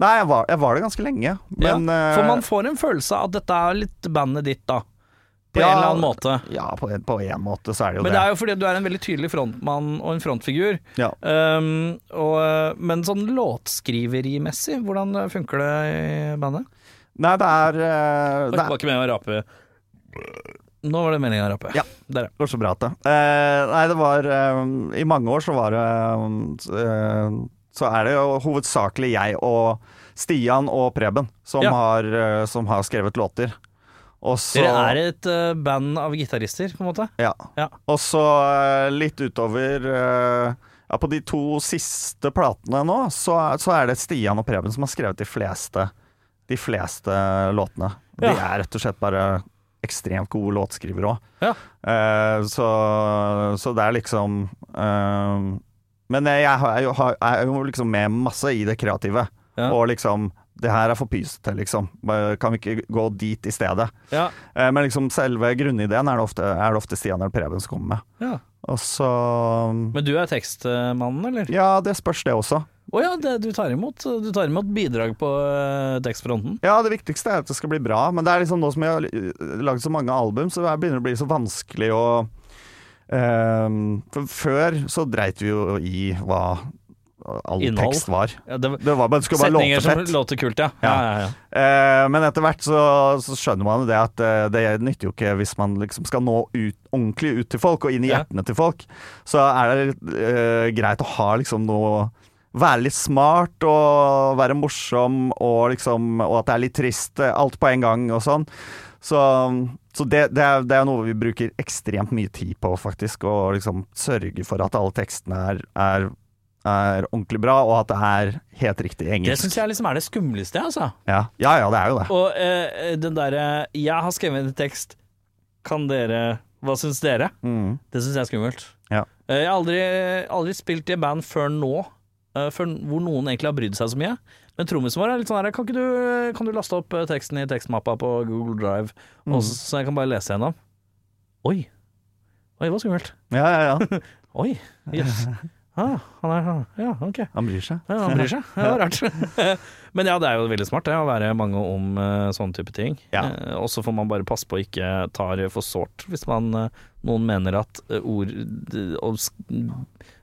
S3: Nei, jeg var, jeg var det ganske lenge. Men
S2: ja, for
S3: eh,
S2: man får en følelse av at dette er litt bandet ditt, da. På
S3: Ja,
S2: en eller annen måte.
S3: eh, Ja, på en, på en måte så er det jo
S2: Men det
S3: det.
S2: er jo fordi du er en veldig tydelig frontmann og en frontfigur.
S3: Ja.
S2: Um, og, men sånn låtskriverimessig, hvordan funker det i bandet?
S3: Nei, det er, eh,
S2: Oi,
S3: det
S2: var
S3: er
S2: ikke meningen å rape. Nå var det meningen å rape.
S3: Ja.
S2: Der, ja.
S3: det går så bra at det. Eh, nei, det var eh, I mange år så var det eh, Så er det jo hovedsakelig jeg og Stian og Preben som,
S2: Ja.
S3: har, eh, som har skrevet låter. Og så
S2: Dere er et eh, band av gitarister, på en måte?
S3: Ja.
S2: Ja.
S3: Og så eh, litt utover eh, Ja, på de to siste platene nå, så, så er det Stian og Preben som har skrevet de fleste, de fleste låtene. De
S2: Ja.
S3: er rett og slett bare ekstremt gode låtskrivere òg.
S2: Ja.
S3: så, så det er liksom eh, Men jeg, har- jeg, har- jeg er jo liksom med masse i det kreative.
S2: Ja.
S3: Og liksom Det her er for pysete, liksom. Bare, Kan vi ikke gå dit i stedet?
S2: Ja.
S3: Eh, Men liksom selve grunnideen er det ofte, er det ofte Stian eller Preben som kommer med.
S2: ja.
S3: Og så
S2: Men du er tekstmannen, eller?
S3: Ja, det spørs det også.
S2: Å ja, det, du tar imot Du tar imot bidrag på eh, tekstfronten.
S3: Ja, det viktigste er at det skal bli bra, men det er liksom nå som jeg har eh, lagd så mange album, så det begynner det å bli så vanskelig å eh, for Før så dreit vi jo i hva all
S2: Innhold.
S3: tekst var.
S2: Ja, det,
S3: Det var bare, det skulle bare
S2: setninger
S3: låte
S2: som
S3: fett.
S2: låter kult, ja. ja. ja, ja,
S3: Eh, men etter hvert så, så skjønner man jo det at eh, det nytter jo ikke hvis man liksom skal nå ut, ordentlig ut til folk og inn i
S2: Ja.
S3: hjertene til folk. Så er det eh, greit å ha liksom noe Være litt smart og være morsom og liksom Og at det er litt trist. eh, Alt på en gang og sånn. Så, så det, det, er, det er noe vi bruker ekstremt mye tid på, faktisk. Å liksom sørge for at alle tekstene er, er, er ordentlig bra, og at det er helt riktig
S2: Det
S3: engelsk.
S2: syns jeg liksom er det skumleste, altså.
S3: Ja. ja ja, det er jo det.
S2: Og eh, den derre 'jeg har skrevet en tekst, kan dere Hva syns dere?'
S3: Mm.
S2: Det syns jeg er skummelt.
S3: Ja.
S2: Eh, jeg har aldri, aldri spilt i et band før nå, eh, før, hvor noen egentlig har brydd seg så mye. Men trommisen vår er litt sånn her kan, ikke du, kan du laste opp eh, teksten i tekstmappa på Google Drive, og så, så jeg kan bare lese gjennom? Oi. Oi, det var skummelt.
S3: Ja, ja, ja.
S2: Oi. Jøss. Ah, han er Ja, ok.
S3: Han bryr seg.
S2: Ja, han bryr seg. Det var rart. Men [LAUGHS] ja, det er jo veldig smart det, å være mange om eh, sånne type ting.
S3: Ja.
S2: Eh, og så får man bare passe på å ikke ta det for sårt, hvis man, eh, noen mener at eh, ord d- å s-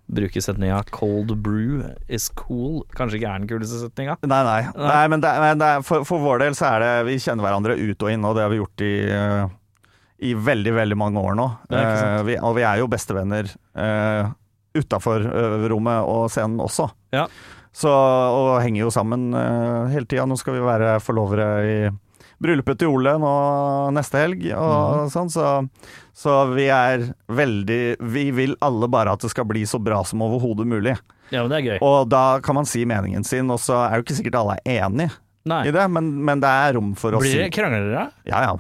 S2: bruke setninga 'cold brew is cool' kanskje ikke er den kuleste setninga.
S3: [LAUGHS] Nei, nei. nei men det, men det, er- for, for vår del så er det Vi kjenner hverandre ut og inn, og det har vi gjort i eh, i veldig, veldig mange år nå.
S2: Ja, ikke sant.
S3: Eh, vi, og vi er jo bestevenner uh, utafor øverrommet og scenen også.
S2: Ja.
S3: Så, og henger jo sammen eh, hele tida. Nå skal vi være forlovere i bryllupet til Ole nå neste helg,
S2: Mhm.
S3: og sånn, så, så vi er veldig Vi vil alle bare at det skal bli så bra som overhodet mulig.
S2: Ja, men det er gøy.
S3: Og da kan man si meningen sin, og så er jo ikke sikkert alle er enig i
S2: Nei.
S3: det, men, men det er rom for å
S2: Blir
S3: si
S2: det kranglere?
S3: Ja ja,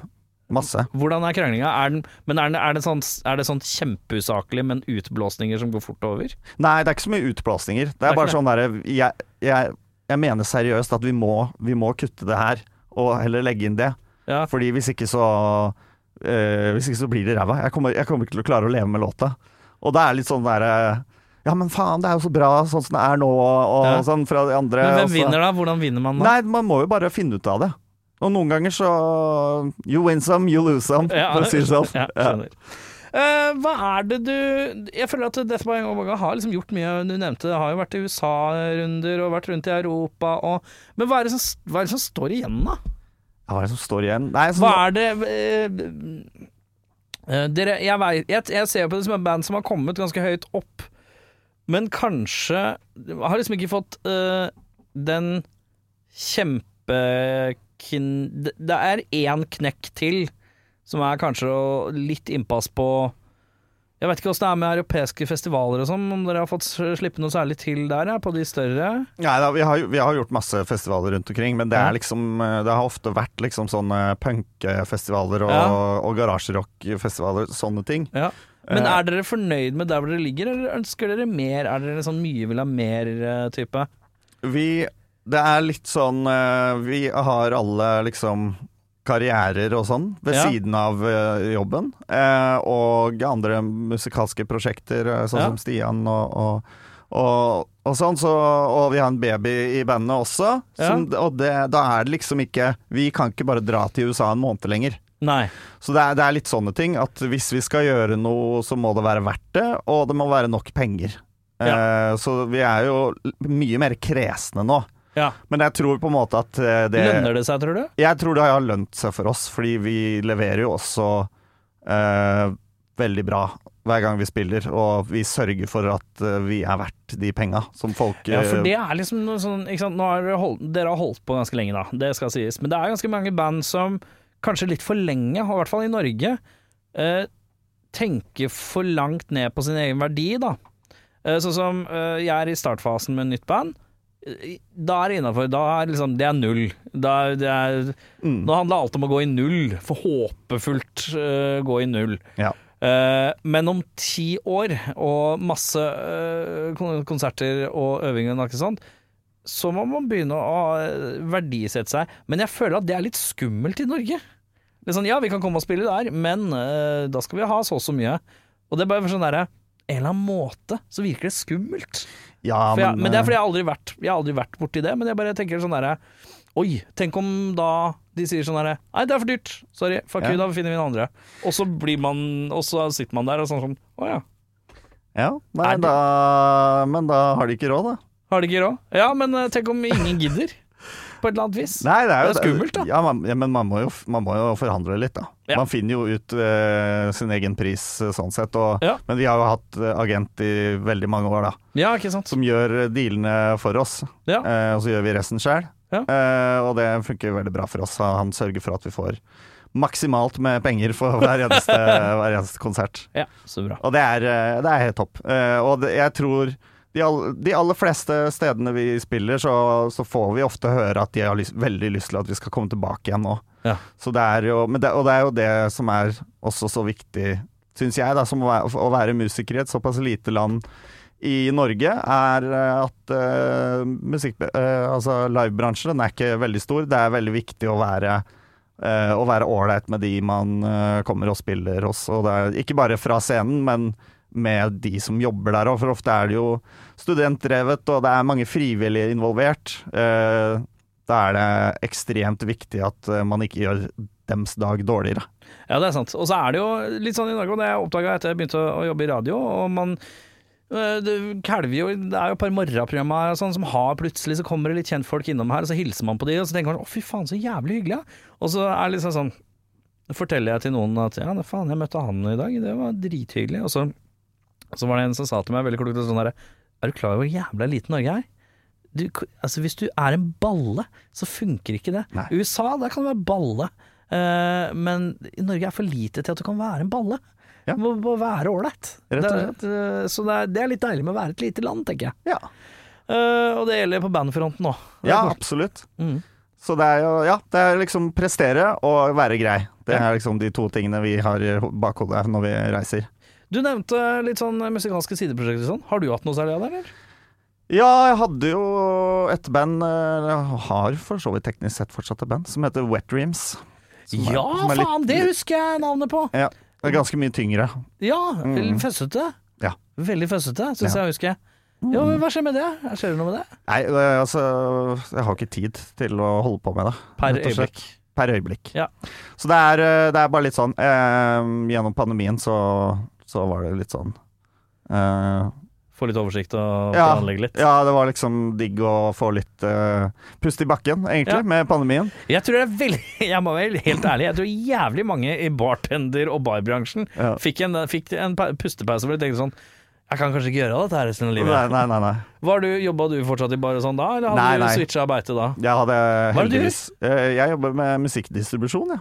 S3: masse.
S2: Hvordan er kranglinga? Er, den, men er, den, er, det sånn, er det sånn kjempeusaklig, men utblåsninger som går fort over?
S3: Nei, det er ikke så mye utblåsninger. Det
S2: er
S3: er bare
S2: ikke
S3: sånn derre jeg, jeg, jeg mener seriøst at vi må, vi må kutte det her, og heller legge inn det.
S2: Ja.
S3: Fordi hvis ikke så eh, Hvis ikke så blir det ræva. Jeg kommer, jeg kommer ikke til å klare å leve med låta. Og det er litt sånn derre Ja, men faen, det er jo så bra sånn som det er nå, og, og
S2: Ja. altså.
S3: sånn fra de andre.
S2: Men
S3: og
S2: hvem
S3: så-
S2: vinner da? Hvordan vinner man da?
S3: Nei, man må jo bare finne ut av det. Og noen ganger så You win some, you lose some, for å si det sånn.
S2: Ja, skjønner. Eh, hva er det du Jeg føler at Death by Omega har liksom gjort mye. Du nevnte det har jo vært i USA-runder og vært rundt i Europa og Men hva er det som, hva er det som står igjen, da?
S3: Ja, Hva er det som står igjen? Nei,
S2: Hva
S3: sånn,
S2: er det eh, eh, Dere, jeg, vet, jeg, jeg ser på det som et band som har kommet ganske høyt opp, men kanskje Har liksom ikke fått eh, den kjempe... Det det er én knekk til, som er kanskje å- litt innpass på Jeg vet ikke åssen det er med europeiske festivaler og sånn, om dere har fått s- slippe noe særlig til der, ja, på de større?
S3: nei da, vi, har, jo- vi har gjort masse festivaler rundt omkring, men det,
S2: Ja.
S3: er liksom, eh, det har ofte vært liksom sånne punkfestivaler og,
S2: Ja.
S3: og garasjerockfestivaler, sånne ting.
S2: Ja. Men
S3: Eh.
S2: er dere fornøyd med der hvor dere ligger, eller ønsker dere mer? Er dere sånn mye vil ha eh, mer-type?
S3: Vi Det er litt sånn eh, Vi har alle liksom karrierer og sånn ved
S2: Ja.
S3: siden av eh, jobben. eh, og andre musikalske prosjekter, eh, sånn
S2: Ja.
S3: som Stian og, og og, og sånn, så, og vi har en baby i bandet også,
S2: Ja.
S3: som, og det, da er det liksom ikke Vi kan ikke bare dra til USA en måned lenger.
S2: Nei.
S3: Så det er, det er litt sånne ting at hvis vi skal gjøre noe, så må det være verdt det, og det må være nok penger. Eh, så vi er jo l- mye mer kresne nå.
S2: Ja.
S3: Men jeg tror på en måte at eh, det
S2: Lønner det seg, tror du?
S3: Jeg tror det har lønt seg for oss, fordi vi leverer jo også eh, veldig bra hver gang vi spiller, og vi sørger for at eh, vi er verdt de penga som folk
S2: Ja, for
S3: eh,
S2: det er liksom noe sånn ikke sant? Nå har dere, holdt, dere har holdt på ganske lenge, da. Det skal sies. Men det er ganske mange band som kanskje litt for lenge, og i hvert fall i Norge, eh, tenker for langt ned på sin egen verdi, da. Eh, sånn som eh, jeg er i startfasen med nytt band. Eh, Da er det innafor. Da er liksom Det er null. Da er, det er,
S3: Mm.
S2: Nå handler alt om å gå i null. Forhåpefullt eh, gå i null.
S3: Ja.
S2: Eh, men om ti år og masse eh, kon- konserter og øving og noe sånt, så må man begynne å eh, verdisette seg. Men jeg føler at det er litt skummelt i Norge. Det er sånn, ja, vi kan komme og spille der, men eh, da skal vi ha så og så mye. Og det er bare sånn derre en eller annen måte så virker det skummelt.
S3: Ja,
S2: For jeg, men det er fordi
S3: eh,
S2: jeg har aldri vært, jeg har aldri vært borti det, men jeg bare tenker sånn derre Oi, tenk om da de sier sånn derre Nei, det er for dyrt. Sorry. Fuck
S3: Ja.
S2: you, da finner vi en andre. Og så blir man Og så sitter man der og sånn sånn Å ja.
S3: eh, ja, nei,
S2: Er det-
S3: da, Men da har de ikke råd, da.
S2: Har de ikke råd? Ja, men eh, tenk om ingen
S3: [LAUGHS]
S2: gidder? På et eller annet vis.
S3: Nei, det er, jo,
S2: Det er skummelt, da.
S3: Ja, man, ja, men man må, jo, man må jo forhandle litt, da.
S2: Ja.
S3: Man finner jo ut eh, sin egen pris eh, sånn sett. Og,
S2: Ja.
S3: Men vi har jo hatt eh, agent i veldig mange år, da.
S2: Ja, ikke sant?
S3: Som gjør eh, dealene for oss,
S2: Ja.
S3: eh, og så gjør vi resten sjøl.
S2: Ja.
S3: Eh, og det funker veldig bra for oss. Han sørger for at vi får maksimalt med penger for
S2: [LAUGHS]
S3: hver eneste, hver eneste konsert.
S2: ja, så bra.
S3: Og det er, eh, det er helt topp. Eh, Og det, jeg tror de, all, de aller fleste stedene vi spiller, så, så får vi ofte høre at de har lyst, veldig lyst til at vi skal komme tilbake igjen nå.
S2: Ja.
S3: Så det er jo, men det, og det er jo det som er også så viktig, syns jeg, da, som å være, å være musiker i et såpass lite land i Norge, er eh, at eh, musikk, eh, altså livebransjen den er ikke veldig stor. Det er veldig viktig å være eh, å være ålreit med de man eh, kommer og spiller hos. Og det er ikke bare fra scenen, men med de som jobber der òg, for ofte er det jo studentdrevet, og det er mange frivillige involvert. Eh, da er det ekstremt viktig at eh, man ikke gjør dems dag dårligere.
S2: Ja, det er sant. Og så er det jo litt sånn i Norge, og det jeg oppdaga etter jeg begynte å jobbe i radio, og man øh, det kalver jo Det er jo et par morgenprogrammer og sånn som har plutselig så kommer det litt kjentfolk innom her, og så hilser man på de, og så tenker man 'Å, fy faen, så jævlig hyggelig', ja. Og så er det liksom sånn Forteller jeg til noen at 'Ja, det faen, jeg møtte han i dag, det var drithyggelig', og så, så var det en som sa til meg veldig klokt og sånn derre 'Er du klar over hvor jævla lite Norge er?' Du, altså Hvis du er en balle, så funker ikke det.
S3: Nei.
S2: I USA, der kan du være balle. Eh, men i Norge er for lite til at du kan være en balle.
S3: Ja.
S2: Du må, må være ålreit.
S3: Rett og
S2: Det er- eh, Så det er, det er litt deilig med å være et lite land, tenker jeg.
S3: Ja,
S2: Eh, og det gjelder på bandfronten òg.
S3: absolutt.
S2: Mm.
S3: Så det er jo Ja, det er liksom prestere og være grei. Det er liksom de to tingene vi har i ho- bakhodet når vi reiser.
S2: Du nevnte litt sånn musikalske sideprosjekter og sånn. Har du hatt noe særlig av det, eller?
S3: Ja, jeg hadde jo et band, eh, jeg har for så vidt teknisk sett fortsatt et band, som heter Wet Dreams. Som er-
S2: ja,
S3: som er litt-
S2: faen! Det husker jeg navnet på!
S3: Ja, det er ganske mye tyngre.
S2: Ja,
S3: Mm.
S2: føssete.
S3: Ja.
S2: Veldig føssete, syns
S3: Ja.
S2: jeg jeg husker. Ja, men hva skjer med det? Skjer det noe med det?
S3: Nei, eh, altså Jeg har ikke tid til å holde på med det.
S2: Per
S3: Rett og slett.
S2: øyeblikk.
S3: Per øyeblikk.
S2: Ja.
S3: Så det er, eh, det er bare litt sånn eh, Gjennom pandemien så, så var det litt sånn eh,
S2: Få litt oversikt og
S3: Ja.
S2: planlegge litt.
S3: Ja, det var liksom digg å få litt eh, pust i bakken,
S2: Ja.
S3: egentlig, med pandemien.
S2: Jeg tror det er veldig [LAUGHS] Jeg må være helt ærlig, jeg tror jævlig mange i bartender- og barbransjen
S3: Ja.
S2: fikk en, fikk en pa- pustepause hvor de tenkte sånn Jeg kan kanskje ikke gjøre dette her resten av
S3: Nei,
S2: livet.
S3: nei, nei. nei.
S2: Var du, Jobba du fortsatt i bar og sånn da, eller hadde
S3: Nei,
S2: du
S3: nei.
S2: switcha beite da?
S3: Jeg hadde
S2: Hva er det du
S3: heldigvis eh, Jeg jobber med musikkdistribusjon, jeg.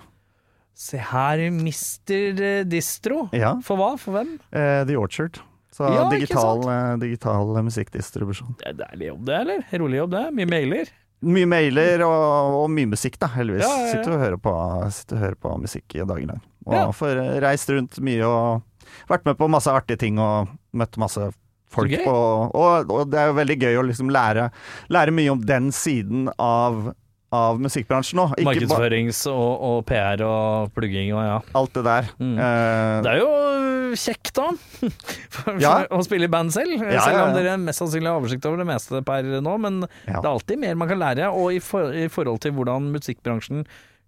S2: Se her, mister eh, Distro.
S3: Ja.
S2: For hva? For hvem?
S3: Eh, The Orchard. Så
S2: Ja, ikke
S3: digital, eh, digital musikkdistribusjon.
S2: Det er deilig jobb, det, eller? Rolig jobb, det. Mye mailer.
S3: Mye mailer og, og mye musikk, da, heldigvis.
S2: Ja, ja, ja.
S3: Sitter og hører på, sitter og hører på musikk i dagen lang. Og
S2: Ja.
S3: får eh, reist rundt mye og vært med på masse artige ting og møtt masse folk
S2: Så gøy.
S3: på og, og det er jo veldig gøy å liksom lære, lære mye om den siden av, av musikkbransjen nå. Ikke bare
S2: Markedsførings og, og PR og plugging og ja.
S3: alt det der.
S2: Mm.
S3: Eh,
S2: Det er jo kjekt, da. [LAUGHS] For,
S3: Ja.
S2: for [LAUGHS] å spille i band selv.
S3: ja,
S2: Selv om
S3: ja.
S2: dere mest sannsynlig har oversikt over det meste per nå. Men
S3: Ja.
S2: det er alltid mer man kan lære. Og i, for, i forhold til hvordan musikkbransjen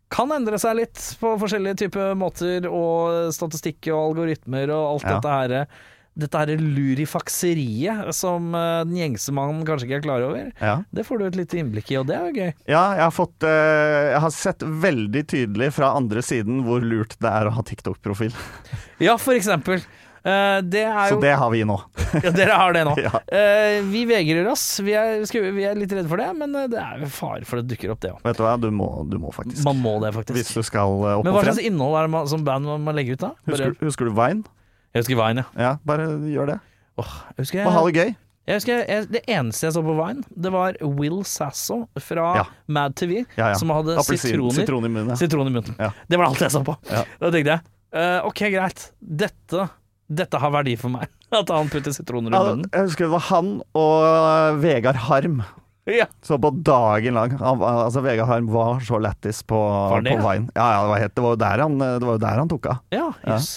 S2: kan endre seg litt på forskjellige typer måter, og statistikk og algoritmer og alt
S3: Ja.
S2: dette her. Dette her lurifakseriet som eh, den gjengse mannen kanskje ikke er klar over.
S3: ja.
S2: Det får du et lite innblikk i, og det er jo gøy.
S3: Ja, jeg har, fått, eh, jeg har sett veldig tydelig fra andre siden hvor lurt det er å ha TikTok-profil.
S2: Ja, for eksempel. Eh, det er
S3: Så
S2: jo
S3: det har vi nå.
S2: [LAUGHS] Ja, dere har det nå.
S3: [LAUGHS] Ja.
S2: Eh, vi vegrer oss. Vi er, skru- vi er litt redde for det, men eh, det er jo fare for det dukker opp, det òg.
S3: Vet du hva, du må, du må faktisk.
S2: Man må det,
S3: Hvis
S2: faktisk.
S3: du skal eh, opp
S2: Men
S3: og
S2: hva
S3: frem.
S2: slags innhold er det man, som band man, man legger ut, da? Bare,
S3: Husker, husker du Vine?
S2: jeg husker Vine, ja.
S3: Ja, bare gjør det.
S2: Åh, jeg husker,
S3: Og ha
S2: jeg,
S3: det gøy.
S2: jeg husker jeg, Det eneste jeg så på Vine, det var Will Sasso fra
S3: Ja.
S2: Mad TV,
S3: Ja, ja.
S2: som hadde
S3: Appelsin,
S2: Eh, sitroner
S3: sitron i munnen. ja.
S2: Sitron i munnen.
S3: Ja.
S2: Det var alt jeg så på.
S3: Ja.
S2: Da tenkte jeg eh, OK, greit. Dette, dette har verdi for meg. [LAUGHS] At han putter sitroner i
S3: Ja,
S2: munnen.
S3: Jeg husker det var han og eh, Vegard Harm.
S2: Ja.
S3: Så på dagen lang. Han, var- altså, Vegard Harm var så lættis på,
S2: Var det, ja?
S3: på Vine. Ja, ja, det var helt Det var jo der han, eh, det var jo der han tok av.
S2: Ja,
S3: Ja.
S2: jøss.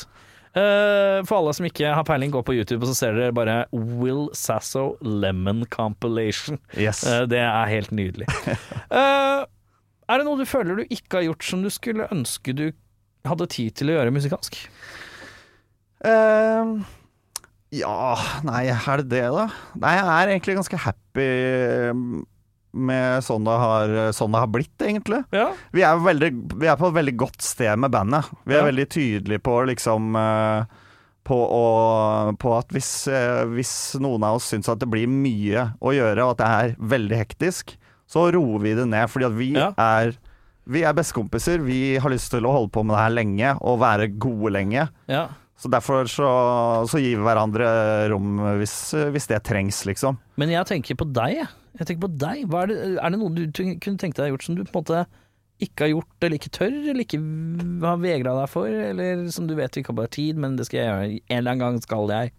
S2: Eh, for alle som ikke har peiling, gå på YouTube og så ser dere bare Will Sasso Lemon [LAUGHS] Compilation.
S3: Yes.
S2: Eh, det er helt nydelig. Eh, er det noe du føler du ikke har gjort som du skulle ønske du hadde tid til å gjøre musikalsk?
S3: Eh, ja Nei, er det det, da? Nei, jeg er egentlig ganske happy mm, med sånn det har, sånn det har blitt, egentlig.
S2: Ja.
S3: Vi er, veldig, vi er på et veldig godt sted med bandet. Vi er
S2: Ja.
S3: veldig tydelige på liksom eh, på, å, på at hvis, eh, hvis noen av oss syns at det blir mye å gjøre, og at det er veldig hektisk, så roer vi det ned. Fordi at vi
S2: Ja.
S3: er Vi er bestekompiser. Vi har lyst til å holde på med det her lenge, og være gode lenge.
S2: ja.
S3: Så derfor så, så gir vi hverandre rom hvis, hvis det trengs, liksom.
S2: Men jeg tenker på deg, jeg. jeg tenker på deg. Hva er, det, er det noe du ten- kunne tenkt deg gjort som du på en måte ikke har gjort, eller ikke tør, eller ikke v- har vegra deg for, eller som du vet du ikke har bare tid, men det skal jeg gjøre, en eller annen gang skal jeg.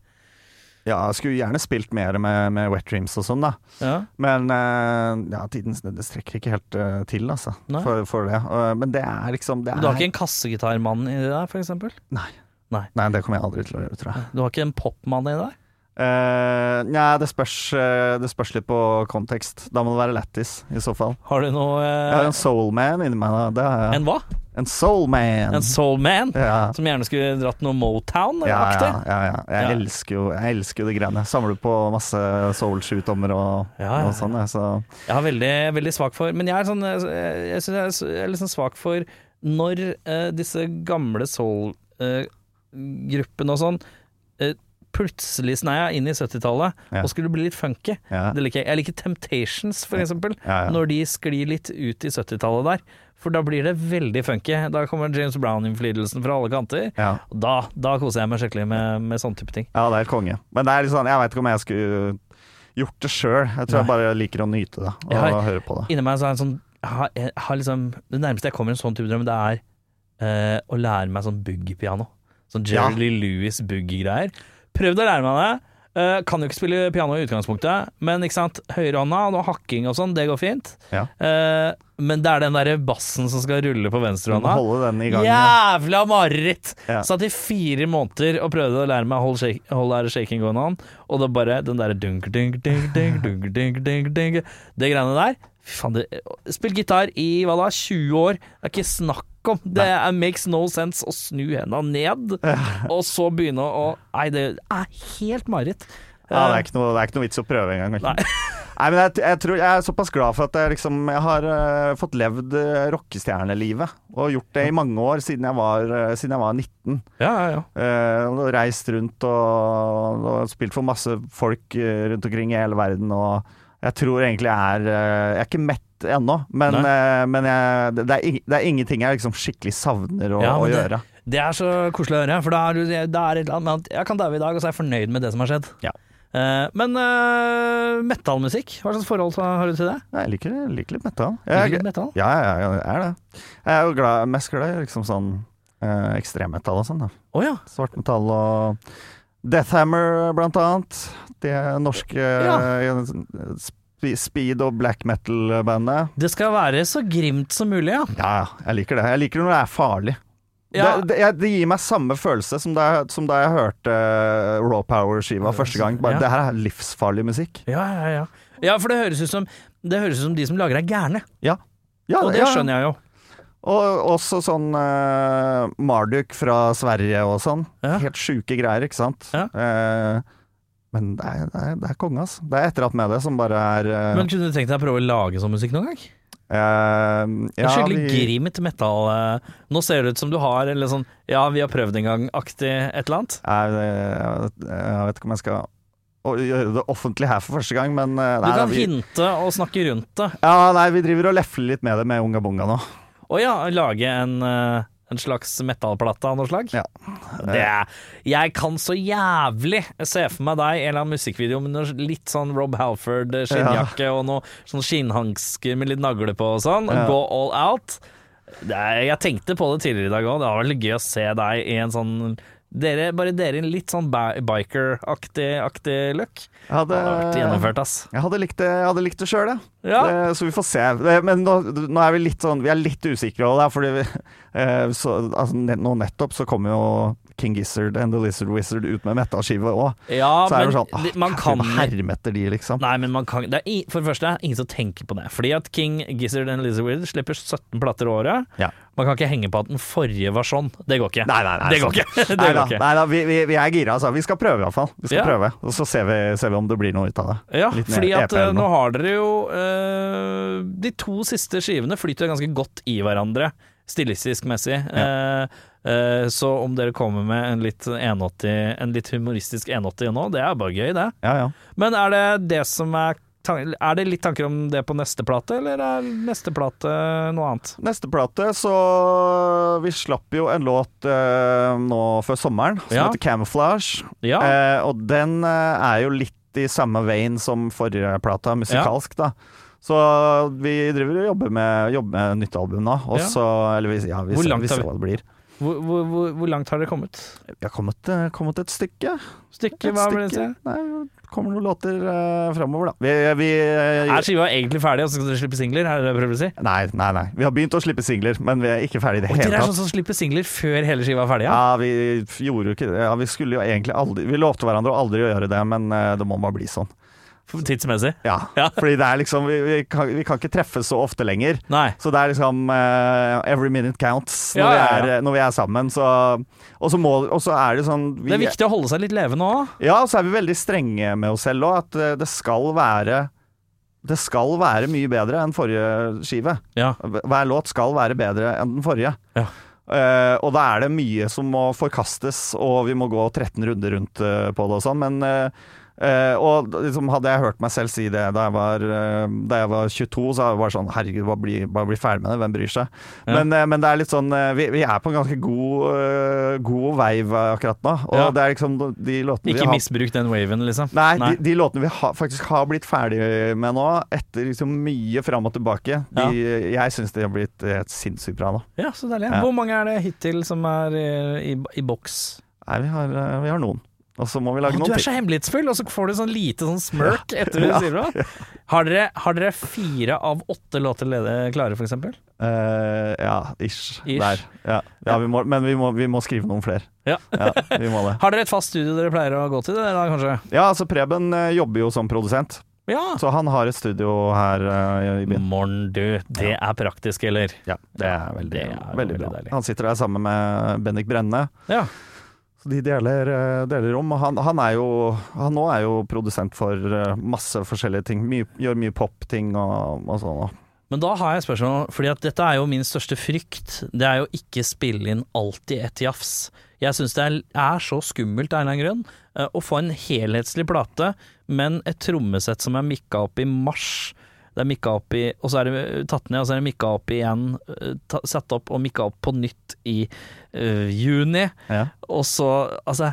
S3: Ja, jeg skulle gjerne spilt mer med, med Wet Dreams og sånn, da.
S2: Ja.
S3: Men eh, ja, tiden det strekker ikke helt eh, til, altså,
S2: Nei.
S3: for, for det. Og, men det er liksom det er,
S2: Du har ikke en kassegitarmann i deg, for eksempel?
S3: Nei.
S2: Nei.
S3: Nei, det kommer jeg aldri til å gjøre, tror jeg.
S2: Du har ikke en popmann i deg?
S3: Eh, Nja, det spørs, eh, det spørs litt på kontekst. Da må det være lættis, i så fall.
S2: Har du noe
S3: Jeg
S2: eh,
S3: har en soulman inni meg, da. Det har jeg.
S2: En hva?
S3: En soulman!
S2: En soulman?
S3: ja.
S2: Som gjerne skulle dratt noe
S3: Ja,
S2: Motown-aktig?
S3: ja, ja, ja. Jeg
S2: Ja.
S3: elsker jo jeg elsker jo de greiene. Samler på masse soul-sjukdommer og,
S2: Ja, ja,
S3: og sånn. jeg, Så.
S2: Jeg er veldig, veldig svak for Men jeg er, sånn, jeg, jeg, synes jeg er s- jeg er litt sånn svak for når eh, disse gamle soul-gruppene og sånn eh, plutselig sneia inn i 70-tallet
S3: Ja.
S2: og skulle bli litt funky.
S3: Ja.
S2: Det liker jeg. jeg liker Temptations, for eksempel.
S3: Ja, ja.
S2: Når de sklir litt ut i 70-tallet der. For da blir det veldig funky. Da kommer James Brown-innflytelsen fra alle kanter.
S3: Ja.
S2: Og Da, da koser jeg meg skikkelig med, med sånne type ting.
S3: ja, det er konge. Men det er litt sånn, jeg veit ikke om jeg skulle gjort det sjøl. Jeg tror jeg bare liker å nyte det og
S2: Jeg har-
S3: høre på det.
S2: Inni meg så er det en sånn jeg har, jeg har liksom, Det nærmeste jeg kommer en sånn type drøm, det er eh, å lære meg sånn boogie-piano. Sånn Jerry
S3: Ja.
S2: Lee Lewis-boogie-greier. Prøvd å lære meg det. Eh, kan jo ikke spille piano i utgangspunktet, men ikke sant, høyrehånda og noe hakking og sånn, det går fint.
S3: Ja.
S2: Eh, men det er den derre bassen som skal rulle på
S3: Du må
S2: venstrehånda.
S3: holde den i gang.
S2: Jævla mareritt!
S3: Ja.
S2: Satt i fire måneder og prøvde å lære meg Hold, shake, hold that shaking going on, og det bare den derre dunk, dunk, dunk, dunk, dunk, dunk, dunk, dunk Det greiene der Fy faen, det, spill gitar i hva da, 20 år, det er ikke snakk om. Det er, makes no sense å snu henda ned, og så begynne å Nei, det er helt mareritt.
S3: Ja, det, er ikke noe, det er ikke noe vits å prøve engang.
S2: Nei.
S3: [LAUGHS] Nei, men jeg, jeg, tror, jeg er såpass glad for at jeg, liksom, jeg har eh, fått levd eh, rockestjernelivet. Og gjort det i mange år, siden jeg var, eh, siden jeg var 19.
S2: Ja, ja, ja.
S3: Eh, og reist rundt og, og spilt for masse folk eh, rundt omkring i hele verden. Og jeg tror egentlig jeg er eh, Jeg er ikke mett ennå, men, eh, men jeg, det, er, ing- det er ingenting jeg liksom skikkelig savner å,
S2: Ja,
S3: å
S2: men det-
S3: gjøre.
S2: Det er så koselig å høre, for da er du da er det et eller annet med at Jeg kan daue i dag, og så er jeg fornøyd med det som har skjedd.
S3: Ja.
S2: Eh, men uh, metallmusikk, hva slags forhold så har du til det?
S3: Jeg liker, jeg liker litt metal.
S2: Liker
S3: Jeg,
S2: du metal?
S3: ja, ja, ja, jeg er det. Jeg er jo glad, mest glad i liksom sånn eh, ekstremmetall og sånn. da.
S2: Å ja.
S3: Svart metall og Death Hammer, blant annet. Det norske eh, spe- speed- og black metal-bandet.
S2: Det skal være så grimt som mulig, ja.
S3: Ja, ja, jeg liker det. Jeg liker det når det er farlig.
S2: Ja.
S3: Det, det, jeg, det gir meg samme følelse som da, jeg- som da jeg hørte eh, Raw Power-skiva første gang. Bare,
S2: Ja.
S3: Det her er livsfarlig musikk.
S2: Ja, ja, ja. ja for det høres ut som, det høres ut som de som lager er gærne,
S3: Ja,
S2: og det
S3: ja.
S2: skjønner jeg jo.
S3: Og også sånn eh, Marduk fra Sverige og sånn.
S2: Ja.
S3: Helt sjuke greier, ikke sant.
S2: Ja.
S3: Eh, men det er, det er, det er konge, altså. Det er etterhatt med det som bare er eh,
S2: Men kunne du tenkt deg å prøve å lage sånn musikk noen gang?
S3: eh, ja,
S2: Skikkelig
S3: vi-
S2: grimt metal. eh, Nå ser det ut som du har eller sånn ja, vi har prøvd en gang-aktig et eller annet.
S3: Nei, det- jeg, vet- eh, jeg vet ikke om jeg skal å- gjøre det offentlig her for første gang, men eh,
S2: Du
S3: nei, da,
S2: kan
S3: vi-
S2: hinte og snakke rundt det.
S3: Ja, nei, vi driver og lefler litt med det med Unga Bunga nå.
S2: Å ja, lage en, eh, en slags metallplate av noe slag?
S3: Ja.
S2: Det er, jeg kan så jævlig se for meg deg i en eller annen musikkvideo med noe litt sånn Rob Halford eh, skinnjakke og noe sånn skinnhansker med litt nagle på og sånn, og
S3: Ja.
S2: gå all out. Det er, jeg tenkte på det tidligere i dag òg, det var veldig gøy å se deg i en sånn dere, Bare dere i en litt sånn ba- biker-aktig aktig look.
S3: Jeg hadde,
S2: Det har vært gjennomført, ass.
S3: Jeg hadde likt det, jeg hadde likt det sjøl, jeg.
S2: Ja.
S3: Eh. Det- Så vi får se. Det- Men nå, nå er vi [LAUGHS] litt sånn Vi er litt usikre over det, her, fordi vi, eh, så, altså, ne- nå nettopp så kom jo King Gizzard and The Lizard Wizard ut med metal-skive òg.
S2: Ja,
S3: så er det
S2: men
S3: sånn ah,
S2: det- man
S3: herre,
S2: kan
S3: herme etter de, liksom.
S2: Nei, men man kan det er, i- For det første er det ingen som tenker på det. Fordi at King Gizzard and Lizard Wizard slipper 17 plater i året.
S3: Ja.
S2: Man kan ikke henge på at den forrige var sånn. Det går ikke.
S3: Nei, nei, nei,
S2: det går
S3: sånn.
S2: ikke. [LAUGHS] Det
S3: Nei da,
S2: går ikke.
S3: nei da vi, vi, vi er gira, altså. Vi skal prøve, iallfall. Vi skal
S2: Ja.
S3: prøve, og så ser vi, ser vi om det blir noe ut av det.
S2: Ja,
S3: Litt E
S2: fordi
S3: ned-
S2: at
S3: EP eller
S2: eh, nå
S3: noe.
S2: har dere jo eh, De to siste skivene flyter ganske godt i hverandre, stilistisk-messig. Eh, eh, så om dere kommer med en litt, 180, en litt humoristisk 180 nå, det er bare gøy, det.
S3: Ja, ja.
S2: Men er det det som er tan- Er det litt tanker om det på neste plate, eller er neste plate noe annet?
S3: Neste plate, så Vi slapp jo en låt eh, nå før sommeren som
S2: Ja.
S3: heter 'Camouflage'.
S2: Ja.
S3: Eh, og den eh, er jo litt i samme veien som forrige plata, musikalsk, da. Så vi driver og jobber med, jobber med nytt album nå, og
S2: Ja.
S3: så Eller vi, ja, vi,
S2: Hvor
S3: ser,
S2: langt
S3: vi
S2: har
S3: ser
S2: vi-
S3: hva det blir.
S2: Hvor, hvor, hvor, hvor langt har dere kommet?
S3: Vi har kommet, eh, kommet et stykke.
S2: Stykke,
S3: Et
S2: hva vil det si?
S3: stykke. Nei, det kommer noen låter uh, framover, da. Vi, vi eh,
S2: Er skiva egentlig ferdig, og så skal dere slippe singler? Er det det jeg prøver å si?
S3: Nei, nei, nei. Vi har begynt å slippe singler, men vi er ikke ferdig i det
S2: Og
S3: hele
S2: dere er
S3: tatt.
S2: sånn som slipper singler før hele skiva er ferdig? Ja?
S3: Ja, vi f- gjorde jo ikke det. Ja, vi skulle jo egentlig aldri Vi lovte hverandre å aldri gjøre det, men eh, det må bare bli sånn.
S2: Tidsmessig?
S3: Ja.
S2: Ja.
S3: Fordi det er liksom vi, vi, kan, vi kan ikke treffes så ofte lenger.
S2: Nei.
S3: Så det er liksom eh, Every minute counts når,
S2: Ja, ja, ja.
S3: Vi, er, når vi er sammen. Så, og, så må, og så er det sånn vi,
S2: Det er viktig å holde seg litt levende òg.
S3: Ja, og så er vi veldig strenge med oss selv òg. At eh, det skal være Det skal være mye bedre enn forrige skive.
S2: Ja.
S3: Hver låt skal være bedre enn den forrige.
S2: Ja.
S3: Eh, og da er det mye som må forkastes, og vi må gå 13 runder rundt eh, på det og sånn, men eh, eh, og liksom hadde jeg hørt meg selv si det da jeg var, eh, da jeg var 22, så var jeg bare sånn Herregud, bare bli, bare bli ferdig med det, hvem bryr seg?
S2: Ja.
S3: Men, eh, men det er litt sånn eh, vi, vi er på en ganske god, eh, god vei akkurat nå. Og
S2: Ja.
S3: det er liksom de låtene vi
S2: Ikke
S3: har
S2: misbruk den waven, liksom.
S3: Nei,
S2: Nei.
S3: De, de låtene vi har- faktisk har blitt ferdig med nå, etter liksom mye fram og tilbake de, Jeg syns de har blitt eh, helt sinnssykt bra nå.
S2: Ja, så deilig.
S3: Ja.
S2: Hvor mange er det hittil som er eh, i, i boks?
S3: Nei, vi har, eh, vi har noen. Og så må vi
S2: Å,
S3: lage
S2: du
S3: noen
S2: er
S3: til.
S2: så hemmelighetsfull, og så får du sånn lite sånn smirk etter du sier det. Har dere, har dere fire av åtte låter lede- klare, for eksempel?
S3: Eh, ja, ish.
S2: Ish.
S3: Der. Ja, ja vi må, men vi må, vi må skrive noen flere.
S2: Ja.
S3: ja, vi må det.
S2: Har dere et fast studio dere pleier å gå til, da, kanskje?
S3: Ja, altså Preben eh, jobber jo som produsent,
S2: Ja.
S3: så han har et studio her eh, i
S2: Mm.
S3: byen.
S2: Morn, du. Det er praktisk, eller?
S3: Ja, det er veldig,
S2: Det er
S3: veldig
S2: veldig
S3: bra.
S2: deilig.
S3: Han sitter der sammen med Bendik Brenne.
S2: Ja.
S3: Så de deler, eh, deler rom, og han, han er jo Han nå er jo produsent for eh, masse forskjellige ting. Mye, gjør mye popting og, og sånn. og-
S2: Men da har jeg et spørsmål, fordi at dette er jo min største frykt. Det er jo ikke spille inn alltid et jafs. Jeg syns det er, er så skummelt av en eller annen grunn eh, å få en helhetslig plate, men et trommesett som er mikka opp i mars. Det er mikka opp i, og så er det eh, tatt ned, og så er det mikka opp igjen, eh, ta, satt opp og mikka opp på nytt i eh, juni.
S3: Ja.
S2: Og så, altså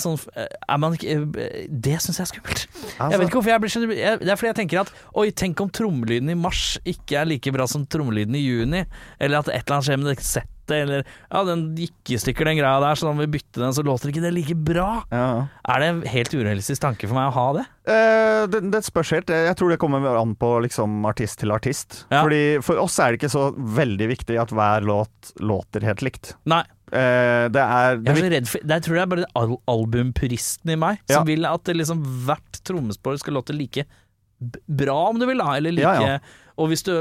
S2: Sånn, er man ikke eh, Det syns jeg er skummelt.
S3: Altså,
S2: Jeg vet ikke hvorfor jeg blir så jeg- Det er fordi jeg tenker at Oi, tenk om trommelyden i mars ikke er like bra som trommelyden i juni. Eller at et eller annet skjer med det settet, eller Ja, den gikk i stykker, den greia der, så da må vi bytte den, så låter ikke det like bra.
S3: ja. ja.
S2: Er det en helt urealistisk tanke for meg å ha det?
S3: Eh, det, det spørs helt. Jeg tror det kommer an på liksom artist til artist.
S2: Ja.
S3: Fordi For oss er det ikke så veldig viktig at hver låt låter helt likt.
S2: Nei.
S3: Eh, det er
S2: Jeg
S3: det
S2: er så redd for Det tror jeg er bare det al albumpuristen i meg
S3: Ja.
S2: som vil at det liksom hvert trommespor skal låte like b- bra, om du vil, da. Eller like
S3: Ja, ja.
S2: Og hvis du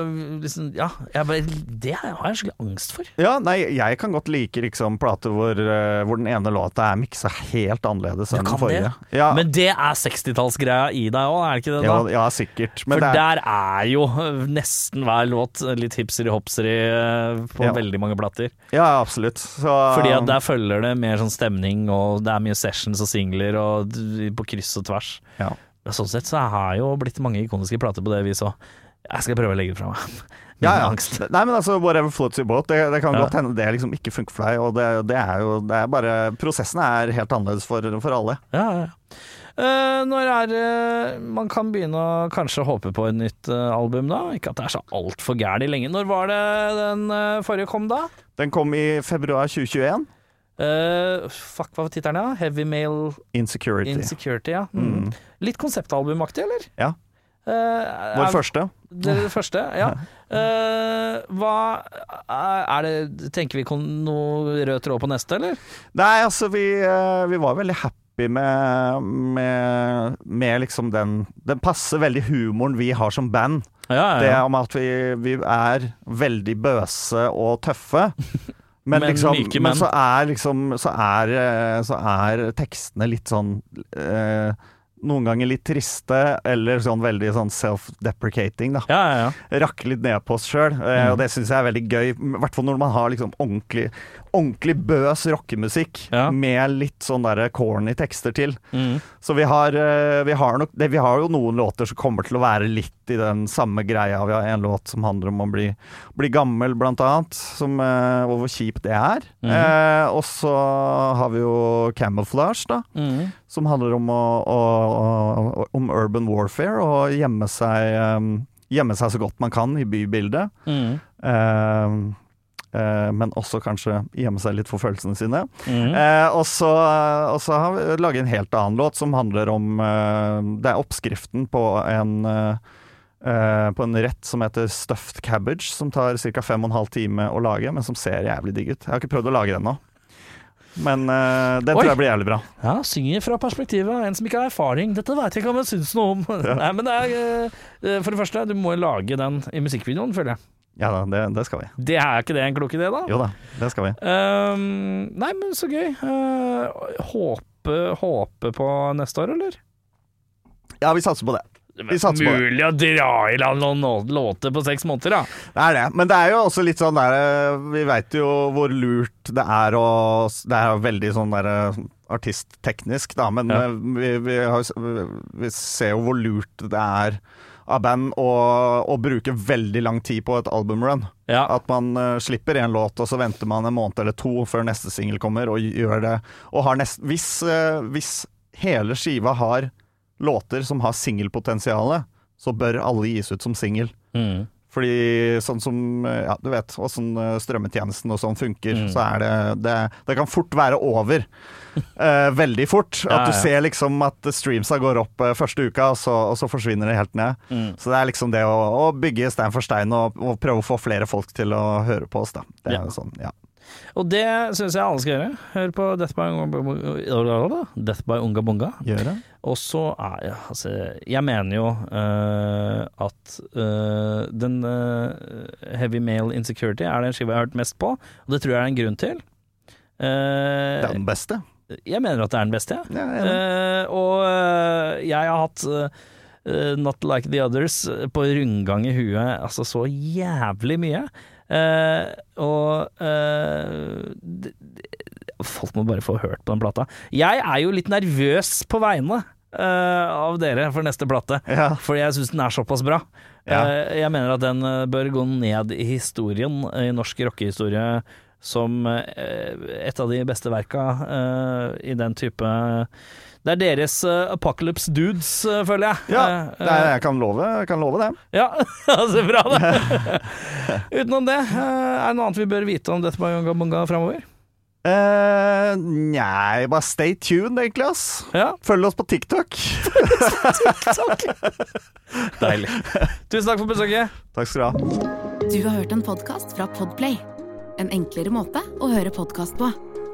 S2: liksom Ja, jeg bare, det har jeg skikkelig angst for.
S3: Ja, nei, jeg kan godt like liksom plater hvor, eh, hvor den ene låta er miksa helt annerledes
S2: Du
S3: enn den
S2: kan
S3: forrige.
S2: det?
S3: Ja,
S2: Men det er 60-tallsgreia i deg òg, er det ikke det? da?
S3: ja, ja, sikkert. Men
S2: For
S3: det er,
S2: der er jo øh, nesten hver låt litt hipseri-hopseri øh, på
S3: Ja.
S2: veldig mange plater.
S3: ja, absolutt. Så,
S2: Fordi at der følger det mer sånn stemning, og det er mye sessions og singler og d- på kryss og tvers.
S3: ja.
S2: Men Sånn sett så har jo blitt mange ikoniske plater på det viset òg. Jeg skal prøve å legge det fra meg. [LAUGHS] Min
S3: Ja, ja.
S2: angst.
S3: Nei, men altså, whatever floats your boat. Det, det kan
S2: Ja.
S3: godt hende det liksom ikke funker for deg. Og det, det er jo det er bare Prosessen er helt annerledes for, for alle.
S2: Ja, ja. Eh, når er eh, man kan begynne å kanskje håpe på et nytt eh, album, da? Ikke at det er så altfor gærent lenge. Når var det den eh, forrige kom, da?
S3: Den kom i februar 2021.
S2: Eh, fuck, hva var tittelen? Ja? Heavy Male
S3: Insecurity. Mm.
S2: Insecurity, ja. Mm. Litt konseptalbumaktig, eller?
S3: Ja.
S2: Eh,
S3: Vår
S2: er-
S3: første.
S2: Det er det første,
S3: [LAUGHS]
S2: ja. Eh, hva er det Tenker vi kon- noe rød tråd på neste, eller?
S3: Nei, altså vi, eh, vi var veldig happy med, med, med liksom den Den passer veldig humoren vi har som band.
S2: Ja,
S3: Det om at vi, vi er veldig bøse og
S2: [LAUGHS]
S3: tøffe. Men,
S2: Men
S3: liksom,
S2: myke
S3: men
S2: menn.
S3: så er liksom så er, eh, så er tekstene litt sånn eh, Noen ganger litt triste, eller sånn veldig sånn self-deprecating, da.
S2: ja, Mm. ja, ja.
S3: Rakke litt ned på oss sjøl, eh, og det syns jeg er veldig gøy. I hvert fall når man har liksom ordentlig, ordentlig bøs rockemusikk
S2: Ja.
S3: med litt sånn derre corny tekster til.
S2: Mm.
S3: Så vi har, eh, vi, har nok, det, vi har jo noen låter som kommer til å være litt i den samme greia. Vi har en låt som handler om å bli, bli gammel, blant annet, som, eh, og hvor kjipt det er. eh, og så har vi jo Camouflage, da,
S2: Mm.
S3: som handler om, å, å, å, om urban warfare og gjemme seg, eh, gjemme seg så godt man kan i bybildet.
S2: Mm.
S3: Eh, eh, men også kanskje gjemme seg litt for følelsene sine.
S2: Mm.
S3: Eh, og så og så har vi laget en helt annen låt som handler om eh, Det er oppskriften på en eh, eh, På en rett som heter stuffed cabbage, som tar ca. fem og en halv time å lage, men som ser jævlig digg ut. Jeg har ikke prøvd å lage den nå. Men eh, den
S2: Oi.
S3: tror jeg blir jævlig bra.
S2: Ja, synger fra perspektivet av en som ikke har erfaring. Dette veit jeg ikke om jeg syns noe om. Nei, men det er, eh, for det første, du må jo lage den i musikkvideoen, føler jeg.
S3: Ja da, det, det skal vi.
S2: Det er ikke det en klok idé, da?
S3: Jo da, det skal vi.
S2: Ehm, nei, men så gøy. Eh, håpe, håpe på neste år, eller?
S3: Ja, vi satser på det. Vi satser på det.
S2: Mulig å dra i land noen nå- låter på seks måneder, da.
S3: Det er det. Men det er jo også litt sånn der eh, Vi veit jo hvor lurt det er å Det er jo veldig sånn der eh, artistteknisk, da, men
S2: Ja.
S3: eh, vi, vi, har, jo s- vi- vi ser jo hvor lurt det er av band å, å bruke veldig lang tid på et albumrun.
S2: Ja.
S3: At man eh, slipper en låt, og så venter man en måned eller to før neste singel kommer, og gjør det Og har nest, hvis, eh, hvis hele skiva har låter som har singelpotensialet, så bør alle gis ut som singel.
S2: Mm.
S3: Fordi sånn som ja, du vet, åssen strømmetjenesten og sånn funker,
S2: Mm.
S3: så er det, det Det kan fort være
S2: [LAUGHS]
S3: over. Eh, veldig fort. At
S2: Ja, ja.
S3: du ser liksom at streamsa går opp eh, første uka, og så, og så forsvinner det helt ned.
S2: Mm.
S3: Så det er liksom det å, å bygge stein for stein og, og prøve å få flere folk til å høre på oss, da. Det er
S2: Ja.
S3: jo sånn, ja.
S2: Og det syns jeg alle skal gjøre. Hør på Death by Unga, Death by Unga Bunga.
S3: Gjøre.
S2: Og så er jeg Altså, jeg mener jo eh, at eh, den eh, Heavy Male Insecurity er den skiva jeg har hørt mest på, og det tror jeg er en grunn til. Eh,
S3: Det er den beste.
S2: jeg mener at det er den beste, jeg.
S3: Ja, jeg er enig.
S2: Eh, og eh, jeg har hatt eh, Not Like The Others eh, på rundgang i huet altså så jævlig mye. Eh, og eh, d- d- Folk må bare få hørt på den plata. Jeg er jo litt nervøs på vegne eh, av dere for neste plate,
S3: ja.
S2: fordi jeg syns den er såpass bra.
S3: Ja.
S2: Eh, jeg mener at den eh, bør gå ned i historien, i norsk rockehistorie, som eh, et av de beste verka eh, i den type Det er deres eh, Apocalypse Dudes, eh, føler jeg.
S3: ja.
S2: Eh,
S3: Det er, jeg kan love, jeg kan love det.
S2: ja, [LAUGHS] så bra det. [LAUGHS] Utenom det, eh, er det noe annet vi bør vite om Death by Yonga Bunga framover?
S3: Eh, Nei, bare stay tuned, egentlig, ass.
S2: Ja,
S3: Følg oss på TikTok.
S2: takk. Deilig. Tusen takk for besøket.
S3: Takk skal du ha.
S1: Du har hørt en podkast fra Podplay. En enklere måte å høre podkast på.